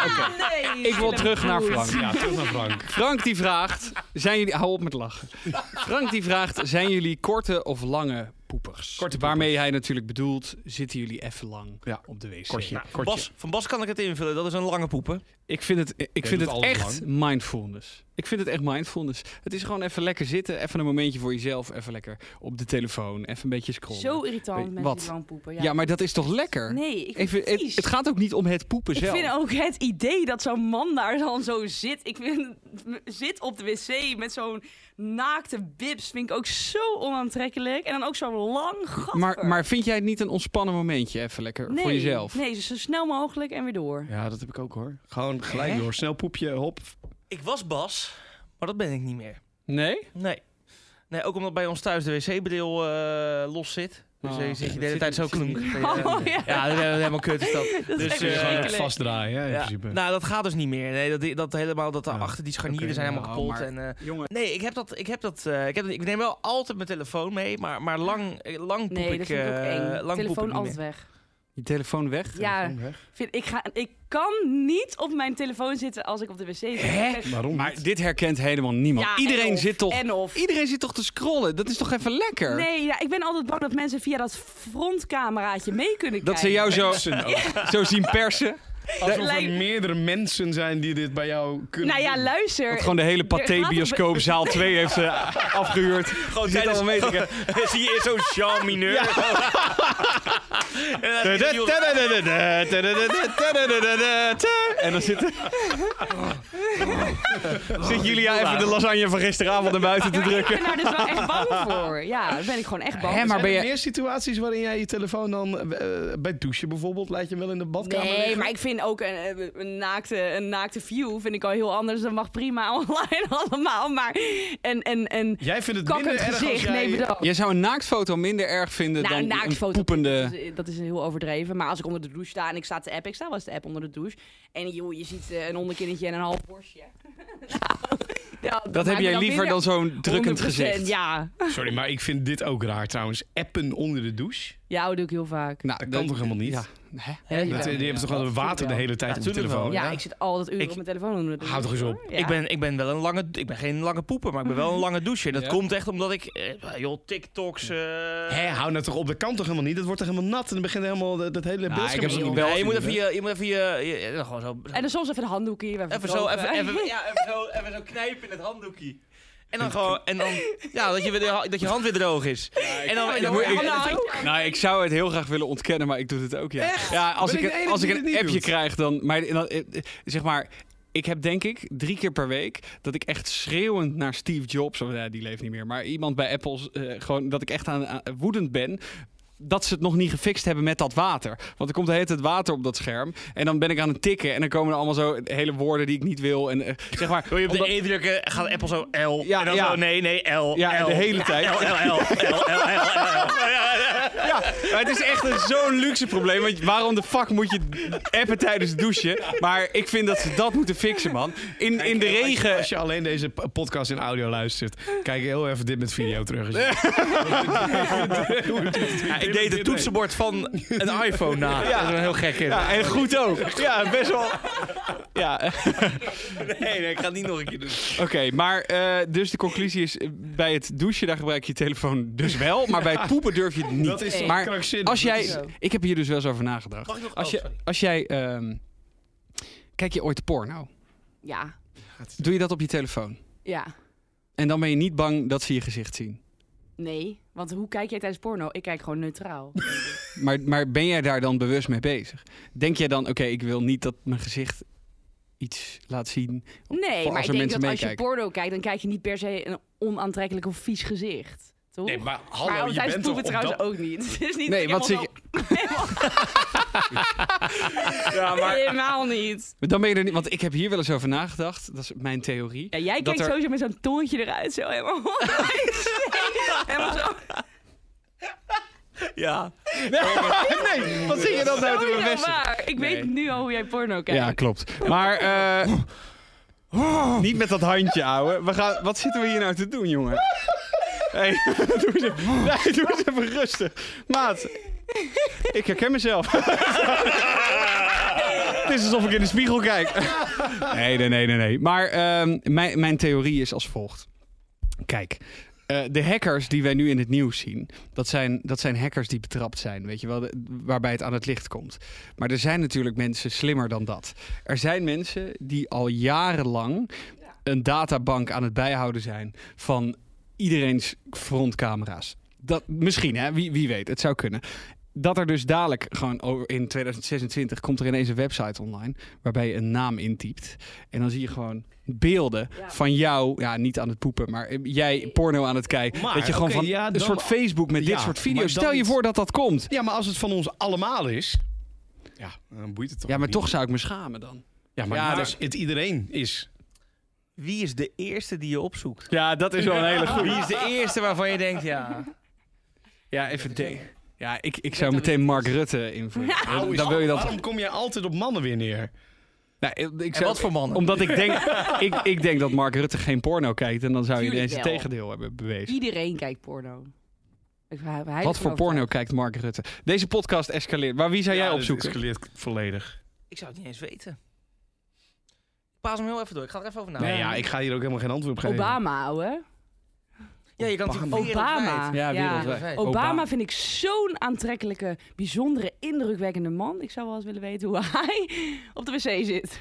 [SPEAKER 5] Nee.
[SPEAKER 2] Ik wil terug naar Frank.
[SPEAKER 4] Ja, terug naar Frank.
[SPEAKER 2] Frank die vraagt, zijn jullie... Hou op met lachen. Frank die vraagt, zijn jullie korte of lange poepers?
[SPEAKER 4] Korte
[SPEAKER 2] Waarmee
[SPEAKER 4] poepers.
[SPEAKER 2] hij natuurlijk bedoelt, zitten jullie even lang
[SPEAKER 4] Ja.
[SPEAKER 2] op de wc.
[SPEAKER 4] Kortje,
[SPEAKER 2] Nou,
[SPEAKER 4] kortje.
[SPEAKER 3] Bas, van Bas kan ik het invullen. Dat is een lange poepen.
[SPEAKER 2] Ik vind het, ik vind
[SPEAKER 4] doet
[SPEAKER 2] het
[SPEAKER 4] alles
[SPEAKER 2] echt mindfulness. Ik vind het echt mindfulness. Het is gewoon even lekker zitten, even een momentje voor jezelf, even lekker op de telefoon, even een beetje scrollen.
[SPEAKER 5] Zo irritant
[SPEAKER 2] Weet-
[SPEAKER 5] mensen
[SPEAKER 2] wat?
[SPEAKER 5] die lang poepen. Ja,
[SPEAKER 2] ja. maar dat is toch lekker?
[SPEAKER 5] Nee, ik vind
[SPEAKER 2] Even,
[SPEAKER 5] het,
[SPEAKER 2] het,
[SPEAKER 5] vies.
[SPEAKER 2] het gaat ook niet om het poepen
[SPEAKER 5] Ik
[SPEAKER 2] zelf.
[SPEAKER 5] vind ook het idee dat zo'n man daar dan zo zit. Ik vind, zit op de wc met zo'n naakte bips. Vind ik ook zo onaantrekkelijk. En dan ook zo lang gat.
[SPEAKER 2] maar, maar vind jij het niet een ontspannen momentje even lekker voor jezelf?
[SPEAKER 5] Nee, zo snel mogelijk en weer door.
[SPEAKER 4] Ja, dat heb ik ook hoor. Gewoon gelijk
[SPEAKER 3] Hè?
[SPEAKER 4] door. Snel poepje, hop.
[SPEAKER 3] Ik was Bas, maar dat ben ik niet meer.
[SPEAKER 2] Nee?
[SPEAKER 3] Nee. Nee, ook omdat bij ons thuis de wc-bril eh, los zit. Dus
[SPEAKER 2] Oh.
[SPEAKER 3] eh, je zit je de hele
[SPEAKER 2] Zit-
[SPEAKER 3] tijd zo
[SPEAKER 2] zit-
[SPEAKER 3] klonk.
[SPEAKER 5] [LAUGHS] Oh, ja.
[SPEAKER 3] Ja, dat is helemaal kut is [LAUGHS] dat.
[SPEAKER 5] Dat is
[SPEAKER 3] Dus,
[SPEAKER 5] echt
[SPEAKER 3] eh,
[SPEAKER 4] Gewoon echt
[SPEAKER 5] verschrikkelijk.
[SPEAKER 4] vastdraaien, hè, in
[SPEAKER 3] Ja,
[SPEAKER 4] principe.
[SPEAKER 3] nou, dat gaat dus niet meer. Nee, dat, dat helemaal, dat
[SPEAKER 4] Ja.
[SPEAKER 3] daarachter die scharnieren
[SPEAKER 2] Oké,
[SPEAKER 3] zijn helemaal
[SPEAKER 2] nou,
[SPEAKER 3] kapot.
[SPEAKER 2] maar-
[SPEAKER 3] En, eh,
[SPEAKER 2] Jongen.
[SPEAKER 3] nee, ik heb dat, ik heb dat, eh, ik, heb, dat- ik neem wel altijd mijn telefoon mee, maar, maar lang, eh, lang poep
[SPEAKER 5] Nee,
[SPEAKER 3] ik,
[SPEAKER 5] dat vind ik ook
[SPEAKER 3] eh,
[SPEAKER 5] eng.
[SPEAKER 3] lang poep ik
[SPEAKER 5] Telefoon
[SPEAKER 3] niet
[SPEAKER 5] altijd
[SPEAKER 3] meer.
[SPEAKER 5] weg.
[SPEAKER 2] Je telefoon weg?
[SPEAKER 5] Ja,
[SPEAKER 4] Gewoon weg.
[SPEAKER 5] vind, ik, ga, ik kan niet op mijn telefoon zitten als ik op de wc zit.
[SPEAKER 2] Hè?
[SPEAKER 4] Waarom
[SPEAKER 2] Maar
[SPEAKER 4] niet?
[SPEAKER 2] dit herkent helemaal niemand.
[SPEAKER 5] Ja, en
[SPEAKER 2] iedereen,
[SPEAKER 5] of,
[SPEAKER 2] zit toch,
[SPEAKER 5] En of.
[SPEAKER 2] iedereen zit toch te scrollen? Dat is toch even lekker?
[SPEAKER 5] Nee, ja, ik ben altijd bang dat mensen via dat frontcameraatje mee kunnen kijken.
[SPEAKER 2] Dat ze jou zo,
[SPEAKER 4] Mensen ook.
[SPEAKER 2] [LAUGHS] zo zien persen.
[SPEAKER 4] Alsof er
[SPEAKER 5] Lijkt-
[SPEAKER 4] meerdere mensen zijn die dit bij jou kunnen
[SPEAKER 5] Nou ja,
[SPEAKER 4] doen.
[SPEAKER 5] luister.
[SPEAKER 2] Dat gewoon de hele Pathé
[SPEAKER 5] gaat een-
[SPEAKER 2] bioscoop zaal 2 heeft
[SPEAKER 5] [LAUGHS]
[SPEAKER 2] eh, afgehuurd. Gewoon
[SPEAKER 3] tijdens-
[SPEAKER 2] allemaal mee te kijken. [LAUGHS]
[SPEAKER 3] Zie je zo'n Jean Mineur? [LAUGHS] En dan-
[SPEAKER 2] En dan zit, [LAUGHS] zit Julia even de lasagne van gisteravond naar buiten te
[SPEAKER 5] ik
[SPEAKER 2] drukken.
[SPEAKER 5] ben daar dus wel echt bang voor. Ja, daar ben ik gewoon echt bang
[SPEAKER 2] Hè,
[SPEAKER 5] voor.
[SPEAKER 2] maar ben
[SPEAKER 4] Zijn
[SPEAKER 2] je-
[SPEAKER 4] er meer situaties waarin jij je telefoon dan eh, bij het douchen bijvoorbeeld laat je hem wel in de badkamer
[SPEAKER 5] Nee,
[SPEAKER 4] liggen?
[SPEAKER 5] maar ik vind ook een, een, naakte, een naakte view vind ik al heel anders. Dat mag prima [LAUGHS] online allemaal. Maar en, en, en
[SPEAKER 4] Jij vindt het minder
[SPEAKER 5] kakkend
[SPEAKER 4] erg als
[SPEAKER 5] gezicht,
[SPEAKER 4] jij...
[SPEAKER 5] nee bedankt.
[SPEAKER 2] Jij zou een naaktfoto minder erg vinden
[SPEAKER 5] Nou,
[SPEAKER 2] dan een
[SPEAKER 5] naaktfoto, dus-
[SPEAKER 2] poepende...
[SPEAKER 5] dat, is, dat is heel overdreven. Maar als ik onder de douche sta en ik sta te app, ik sta wel eens te app onder de douche. En joh, je ziet eh, een onderkinnetje en een half borstje. [LAUGHS] Nou, ja,
[SPEAKER 2] Dat heb
[SPEAKER 5] maakt me
[SPEAKER 2] jij liever
[SPEAKER 5] minder-
[SPEAKER 2] dan zo'n drukkend
[SPEAKER 5] 100%,
[SPEAKER 2] gezicht.
[SPEAKER 5] Ja,
[SPEAKER 4] Sorry, maar ik vind dit ook raar trouwens. Appen onder de douche?
[SPEAKER 5] ja dat doe ik heel vaak.
[SPEAKER 2] Nou,
[SPEAKER 4] Dat kan toch helemaal niet?
[SPEAKER 2] Ja. Hè?
[SPEAKER 5] Ja,
[SPEAKER 4] Dat, eh, die hebben toch
[SPEAKER 5] Ja,
[SPEAKER 4] wel water de
[SPEAKER 5] wel.
[SPEAKER 4] hele tijd
[SPEAKER 3] Ja,
[SPEAKER 4] op de
[SPEAKER 3] tuurlijk wel.
[SPEAKER 4] telefoon?
[SPEAKER 5] Ja,
[SPEAKER 3] Ja.
[SPEAKER 5] ik zit altijd uren
[SPEAKER 3] Ik-
[SPEAKER 5] op mijn telefoon. onder de
[SPEAKER 4] Nou, Hou toch eens
[SPEAKER 5] douche,
[SPEAKER 4] op.
[SPEAKER 5] hoor. Ja.
[SPEAKER 3] Ik ben, ik ben wel een lange, ik ben geen lange poeper, maar ik ben wel een lange douche. En dat
[SPEAKER 2] Ja.
[SPEAKER 3] komt echt omdat ik, eh, joh, TikToks. eh
[SPEAKER 4] Hé, hou nou toch op, dat kan toch helemaal niet? Dat wordt toch helemaal nat en dan begint helemaal dat, dat hele
[SPEAKER 2] Nou,
[SPEAKER 4] beeldscherm...
[SPEAKER 2] ik heb het
[SPEAKER 4] zo-
[SPEAKER 2] niet
[SPEAKER 3] Ja,
[SPEAKER 2] wel
[SPEAKER 3] je moet even je, je moet even je, je- ja, gewoon zo.
[SPEAKER 5] En dan soms even een handdoekje. [LAUGHS]
[SPEAKER 3] even zo, even, even, ja, even zo, even zo knijpen in het handdoekje. En dan gewoon, en dan, ja, dat je, weer de- dat je hand weer droog is. En dan, en dan
[SPEAKER 2] Ik-
[SPEAKER 3] en dan-
[SPEAKER 2] Nou, ik zou het heel graag willen ontkennen, maar ik doe het ook, ja. Ja, als
[SPEAKER 4] Ben
[SPEAKER 2] ik,
[SPEAKER 4] ik de
[SPEAKER 2] een-
[SPEAKER 4] enige
[SPEAKER 2] als ik
[SPEAKER 4] die
[SPEAKER 2] een
[SPEAKER 4] dit niet
[SPEAKER 2] appje
[SPEAKER 4] doet?
[SPEAKER 2] krijg, dan... Maar, dan- eh, eh, zeg maar, ik heb denk ik drie keer per week dat ik echt schreeuwend naar Steve Jobs... Of, eh, die leeft niet meer, maar iemand bij Apple... eh, gewoon dat ik echt aan, aan- woedend ben... Dat ze het nog niet gefixt hebben met dat water. Want er komt de hele tijd water op dat scherm. En dan ben ik aan het tikken. En dan komen er allemaal zo hele woorden die ik niet wil. En eh, zeg maar.
[SPEAKER 3] Wil je op
[SPEAKER 2] omdat-
[SPEAKER 3] de E drukken, gaat Apple zo L.
[SPEAKER 2] Ja,
[SPEAKER 3] en dan
[SPEAKER 2] ja.
[SPEAKER 3] zo, nee, nee, L.
[SPEAKER 2] Ja,
[SPEAKER 3] L,
[SPEAKER 2] de hele tijd.
[SPEAKER 3] L, L, L, L, L, L, L.
[SPEAKER 2] Ja, maar het is echt een- zo'n luxe probleem. Want waarom de fuck moet je appen tijdens het douchen? Maar ik vind dat ze dat moeten fixen, man. In, in de regen.
[SPEAKER 4] Als je alleen deze p- podcast in audio luistert, kijk heel even dit met video terug.
[SPEAKER 2] [LAUGHS]
[SPEAKER 4] eens.
[SPEAKER 3] Ja, ik deed het toetsenbord van een iPhone na.
[SPEAKER 2] Ja.
[SPEAKER 3] Dat is wel heel gek in.
[SPEAKER 2] Ja, en goed ook. Ja, best wel. Ja, eh,
[SPEAKER 3] Nee, nee, ik ga het niet nog een keer doen.
[SPEAKER 2] oké. maar eh, dus de conclusie is: eh, bij het douchen, daar gebruik je je telefoon dus wel. Maar bij het poepen durf je het niet.
[SPEAKER 4] Dat is toch
[SPEAKER 2] maar
[SPEAKER 4] krankzinnig?
[SPEAKER 2] als
[SPEAKER 4] Dat
[SPEAKER 2] jij. Ik heb hier dus wel eens over nagedacht.
[SPEAKER 3] Mag ik nog-
[SPEAKER 2] Als,
[SPEAKER 3] oh,
[SPEAKER 2] je,
[SPEAKER 3] sorry.
[SPEAKER 2] als jij. ehm, kijk je ooit porno?
[SPEAKER 5] Ja,
[SPEAKER 2] Doe je dat op je telefoon?
[SPEAKER 5] ja.
[SPEAKER 2] En dan ben je niet bang dat ze je gezicht zien.
[SPEAKER 5] Nee, want hoe kijk jij tijdens porno? Ik kijk gewoon
[SPEAKER 2] [LAUGHS]
[SPEAKER 5] neutraal.
[SPEAKER 2] Maar, maar ben jij daar dan bewust mee bezig? Denk jij dan, oké, ik wil niet dat mijn gezicht iets laat zien? Voor
[SPEAKER 5] Nee, maar
[SPEAKER 2] als
[SPEAKER 5] ik
[SPEAKER 2] er
[SPEAKER 5] denk
[SPEAKER 2] mensen
[SPEAKER 5] dat als je
[SPEAKER 2] meekijken.
[SPEAKER 5] porno kijkt, dan kijk je niet per se een onaantrekkelijk of vies gezicht. Toch?
[SPEAKER 4] Nee, maar hallo,
[SPEAKER 5] maar
[SPEAKER 4] je
[SPEAKER 5] tijdens
[SPEAKER 4] bent toch
[SPEAKER 5] poepen
[SPEAKER 4] op
[SPEAKER 5] trouwens
[SPEAKER 4] dat...
[SPEAKER 5] ook niet. [LAUGHS] Het is niet
[SPEAKER 2] Nee, wat
[SPEAKER 5] helemaal
[SPEAKER 2] zie
[SPEAKER 5] zo-
[SPEAKER 4] [LAUGHS]
[SPEAKER 5] [LAUGHS] Helemaal,
[SPEAKER 2] Ja,
[SPEAKER 5] helemaal niet.
[SPEAKER 2] Dan ben je er niet, want ik heb hier wel eens over nagedacht. Dat is mijn theorie.
[SPEAKER 5] Ja, jij
[SPEAKER 2] Dat
[SPEAKER 5] kijkt
[SPEAKER 2] er-
[SPEAKER 5] sowieso met zo'n tongetje eruit. Zo helemaal. [LAUGHS]
[SPEAKER 4] [LAUGHS]
[SPEAKER 5] helemaal
[SPEAKER 2] [LAUGHS]
[SPEAKER 5] zo.
[SPEAKER 3] Ja.
[SPEAKER 2] Nee, wat zie je dan nou te
[SPEAKER 5] Sowieso
[SPEAKER 2] bevestigen?
[SPEAKER 5] waar. Ik
[SPEAKER 2] Nee.
[SPEAKER 5] weet nu al hoe jij porno kijkt.
[SPEAKER 2] Ja, klopt. Maar [LAUGHS] eh, niet met dat handje, ouwe. We gaan, wat zitten we hier nou te doen, [LAUGHS] jongen? Hey, [LAUGHS] doe eens even, nee, doe eens even rustig. Maat, ik herken mezelf. Het is alsof ik in de spiegel kijk. Nee, nee, nee, nee. nee. Maar ehm, mijn, mijn theorie is als volgt. Kijk, eh, de hackers die wij nu in het nieuws zien, dat zijn, dat zijn hackers die betrapt zijn, weet je wel, de- waarbij het aan het licht komt. Maar er zijn natuurlijk mensen slimmer dan dat. Er zijn mensen die al jarenlang een databank aan het bijhouden zijn van iedereen's frontcamera's. Dat, misschien, hè? Wie, wie weet, het zou kunnen. Dat er dus dadelijk gewoon over in 2026 komt er ineens een website online waarbij je een naam intypt. En dan zie je gewoon beelden van jou, ja, niet aan het poepen, maar eh, jij porno aan het kijken.
[SPEAKER 4] Maar,
[SPEAKER 2] dat je gewoon
[SPEAKER 4] oké,
[SPEAKER 2] van
[SPEAKER 4] ja,
[SPEAKER 2] een
[SPEAKER 4] dan-
[SPEAKER 2] soort Facebook met
[SPEAKER 4] Ja,
[SPEAKER 2] dit soort
[SPEAKER 4] maar
[SPEAKER 2] video's.
[SPEAKER 4] dan
[SPEAKER 2] Stel je
[SPEAKER 4] niet-
[SPEAKER 2] voor dat dat komt.
[SPEAKER 4] [LAUGHS] Ja, maar als het van ons allemaal is, ja, dan boeit het toch
[SPEAKER 2] Ja, maar
[SPEAKER 4] niet.
[SPEAKER 2] toch zou ik me schamen dan.
[SPEAKER 4] Ja, maar,
[SPEAKER 2] Ja,
[SPEAKER 4] niet
[SPEAKER 2] maar-
[SPEAKER 4] als het iedereen is.
[SPEAKER 3] Wie is de eerste die je opzoekt?
[SPEAKER 2] Ja, dat is wel een hele
[SPEAKER 3] Wie is de eerste waarvan je denkt, ja...
[SPEAKER 2] Ja, even denken. Ja, ik, ik zou meteen Mark Rutte invoeren.
[SPEAKER 4] Au,
[SPEAKER 2] Dan-
[SPEAKER 4] is-
[SPEAKER 2] Dan wil je dat.
[SPEAKER 4] Waarom kom jij altijd op mannen weer neer?
[SPEAKER 2] Nou, ik- ik
[SPEAKER 3] En
[SPEAKER 2] zou-
[SPEAKER 3] wat voor mannen?
[SPEAKER 2] Omdat ik denk, ik, ik denk dat Mark Rutte geen porno kijkt. En dan zou je
[SPEAKER 5] Tuurlijk
[SPEAKER 2] ineens het
[SPEAKER 5] wel.
[SPEAKER 2] tegendeel hebben bewezen.
[SPEAKER 5] Iedereen kijkt porno. Ik- hij- hij is
[SPEAKER 2] Wat voor
[SPEAKER 5] ervan
[SPEAKER 2] porno
[SPEAKER 5] overtuigd.
[SPEAKER 2] kijkt Mark Rutte? Deze podcast escaleert. Maar wie zou jij opzoeken?
[SPEAKER 4] geleerd volledig.
[SPEAKER 3] Ik zou het niet eens weten. Ik paas hem heel even door. Ik ga er even over
[SPEAKER 4] Nee,
[SPEAKER 3] nadenken.
[SPEAKER 4] ja, ik ga hier ook helemaal geen antwoord op geven.
[SPEAKER 5] Obama, ouwe.
[SPEAKER 3] Ja, je kan natuurlijk
[SPEAKER 5] Obama.
[SPEAKER 3] wereldwijd.
[SPEAKER 2] Ja, wereldwijd.
[SPEAKER 3] Wereldwijd.
[SPEAKER 5] Obama, vind ik zo'n aantrekkelijke, bijzondere, indrukwekkende man. Ik zou wel eens willen weten hoe hij op de wc zit.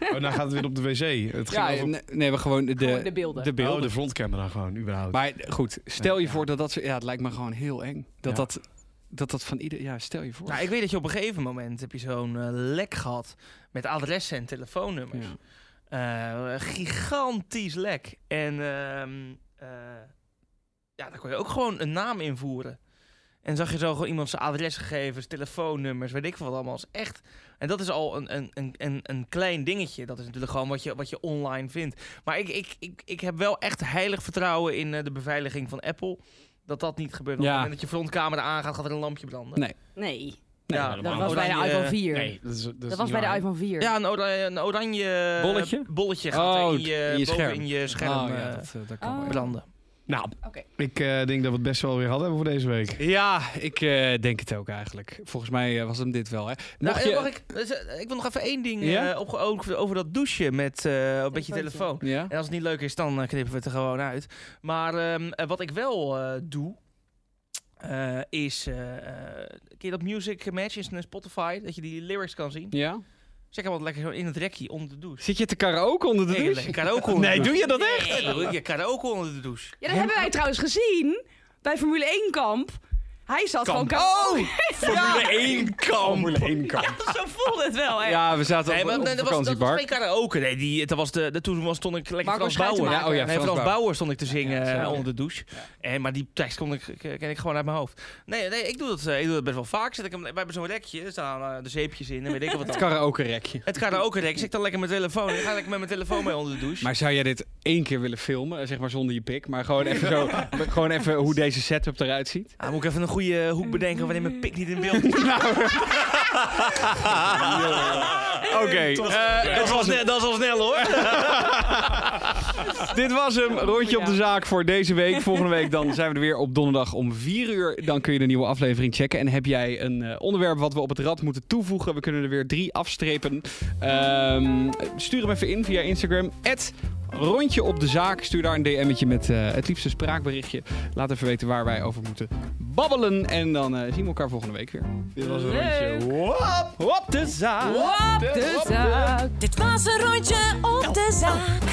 [SPEAKER 4] Oh, nou gaat het weer op de wc. Het
[SPEAKER 2] Ja,
[SPEAKER 4] ging over...
[SPEAKER 2] nee, nee, we gewoon de,
[SPEAKER 5] Gewoon de beelden.
[SPEAKER 2] De beelden.
[SPEAKER 4] Oh, de frontcamera gewoon, überhaupt.
[SPEAKER 2] Maar goed, stel je
[SPEAKER 4] Ja.
[SPEAKER 2] voor dat dat... zo- Ja, het lijkt me gewoon heel eng. Dat
[SPEAKER 4] Ja.
[SPEAKER 2] dat, dat, dat van ieder... Ja, stel je voor.
[SPEAKER 3] Nou, ik weet dat je op een gegeven moment heb je zo'n eh, lek gehad met adressen en telefoonnummers.
[SPEAKER 2] Ja.
[SPEAKER 3] Eh, een gigantisch lek. En ehm, eh, ja, daar kon je ook gewoon een naam invoeren. En zag je zo gewoon iemand zijn adresgegevens, telefoonnummers, weet ik veel wat allemaal. Is echt. En dat is al een, een, een, een, een klein dingetje. Dat is natuurlijk gewoon wat je, wat je online vindt. Maar ik, ik, ik, ik heb wel echt heilig vertrouwen in eh, de beveiliging van Apple. Dat dat niet gebeurt. Want
[SPEAKER 2] Ja.
[SPEAKER 3] Op het moment dat je frontcamera aangaat, gaat er een lampje branden.
[SPEAKER 5] Nee,
[SPEAKER 2] Nee,
[SPEAKER 3] Ja, eh,
[SPEAKER 4] dat
[SPEAKER 5] dat
[SPEAKER 4] Maar
[SPEAKER 5] was bij de
[SPEAKER 3] oranje-
[SPEAKER 5] iPhone 4.
[SPEAKER 4] Nee, dat is, dat is
[SPEAKER 5] dat was
[SPEAKER 4] niet
[SPEAKER 5] bij de
[SPEAKER 4] waar.
[SPEAKER 5] iPhone 4.
[SPEAKER 3] Ja, een oranje, een oranje
[SPEAKER 2] Bolletje?
[SPEAKER 3] bolletje gaat
[SPEAKER 2] Oh,
[SPEAKER 3] er in je,
[SPEAKER 2] in je
[SPEAKER 3] boven
[SPEAKER 2] scherm.
[SPEAKER 3] in je scherm
[SPEAKER 2] Oh, ja,
[SPEAKER 3] eh,
[SPEAKER 2] dat, eh, dat kan
[SPEAKER 5] Oh.
[SPEAKER 2] wel.
[SPEAKER 3] branden.
[SPEAKER 4] Nou,
[SPEAKER 5] Oké.
[SPEAKER 4] ik eh, denk dat we het best wel weer hadden voor deze week.
[SPEAKER 2] Ja, ik eh, denk het ook eigenlijk. Volgens mij eh, was hem dit wel. Hè.
[SPEAKER 3] Nou,
[SPEAKER 2] Mocht
[SPEAKER 3] eh,
[SPEAKER 2] je...
[SPEAKER 3] mag ik, dus, eh, ik wil nog even één ding
[SPEAKER 2] Ja?
[SPEAKER 3] eh, opge- over, over dat douchen met eh, een beetje
[SPEAKER 5] Telefoontje.
[SPEAKER 3] telefoon.
[SPEAKER 2] Ja?
[SPEAKER 3] En als het niet leuk is, dan eh, knippen we het er gewoon uit. Maar ehm, eh, wat ik wel eh, doe, eh, is... eh, eh, ken je dat Music Match in Spotify? Dat je die lyrics kan zien?
[SPEAKER 2] Ja?
[SPEAKER 3] Dus ik heb altijd lekker zo in het rekje onder de douche.
[SPEAKER 2] Zit je te karaoke onder de douche?
[SPEAKER 3] Lekker
[SPEAKER 2] [LAUGHS]
[SPEAKER 3] karaoke onder
[SPEAKER 2] Nee,
[SPEAKER 3] de
[SPEAKER 2] doe
[SPEAKER 3] douche.
[SPEAKER 2] je dat echt?
[SPEAKER 3] Nee, doe ik je karaoke onder de douche.
[SPEAKER 5] Ja, dat hebben wij trouwens gezien bij Formule 1 kamp. Hij zat gewoon...
[SPEAKER 2] Oh! [LAUGHS] Formule 1 kamp. Formule 1
[SPEAKER 5] [LAUGHS]
[SPEAKER 2] kamp.
[SPEAKER 5] Zo voelde het wel, hè?
[SPEAKER 2] Ja, we zaten
[SPEAKER 3] Nee,
[SPEAKER 2] op,
[SPEAKER 3] maar
[SPEAKER 2] op
[SPEAKER 3] nee, dat, was, dat was
[SPEAKER 2] vakantiebar.
[SPEAKER 3] geen karaoke. Nee, die, dat was de, de, toen was, stond ik lekker
[SPEAKER 5] Marco
[SPEAKER 3] Frans Bauer.
[SPEAKER 5] Schuitenmaker.
[SPEAKER 2] Ja, oh ja,
[SPEAKER 3] nee,
[SPEAKER 2] Frans
[SPEAKER 3] Frans,
[SPEAKER 2] Bauer.
[SPEAKER 3] Bauer. stond ik te zingen eh, onder de douche. En, maar die tekst kon ik, eh, ken ik gewoon uit mijn hoofd. Nee, nee ik, doe dat, eh, ik doe dat best wel vaak. Zet ik hem, wij hebben zo'n rekje, er staan eh, de zeepjes in en weet ik wat.
[SPEAKER 2] [LAUGHS] Het
[SPEAKER 3] dan.
[SPEAKER 2] karaoke rekje.
[SPEAKER 3] Het karaoke rekje, zit ik dan lekker met mijn telefoon. Ik ga lekker met mijn telefoon mee onder de douche.
[SPEAKER 2] Maar zou jij dit één keer willen filmen? Zeg maar zonder je pik. Maar gewoon even,
[SPEAKER 3] [LAUGHS]
[SPEAKER 2] zo, gewoon even hoe deze setup eruit ziet.
[SPEAKER 3] Ah, moet ik even een goede hoek bedenken wanneer mijn pik niet in
[SPEAKER 2] [LAUGHS]
[SPEAKER 3] beeld is. [LAUGHS]
[SPEAKER 2] Nou. Oké, eh,
[SPEAKER 3] dat, was net- dat was al snel hoor.
[SPEAKER 2] [LAUGHS] dit was hem. Rondje op de
[SPEAKER 5] Ja.
[SPEAKER 2] zaak voor deze
[SPEAKER 5] [LAUGHS]
[SPEAKER 2] week. Volgende week dan zijn we er weer op donderdag om 4 uur. Dan kun je de nieuwe aflevering checken. En heb jij een eh, onderwerp wat we op het rad moeten toevoegen? We kunnen er weer drie afstrepen. Ehm, stuur hem even in via Instagram. Rondje op de zaak. Stuur daar een DM'tje met eh, het liefste spraakberichtje. Laat even weten waar wij over moeten babbelen. En dan eh, zien we elkaar volgende week weer.
[SPEAKER 4] Dit was een
[SPEAKER 5] Leuk.
[SPEAKER 4] rondje. Wow.
[SPEAKER 2] Op de zaak!
[SPEAKER 5] Op de zaak.
[SPEAKER 1] Dit was een rondje op de zaak.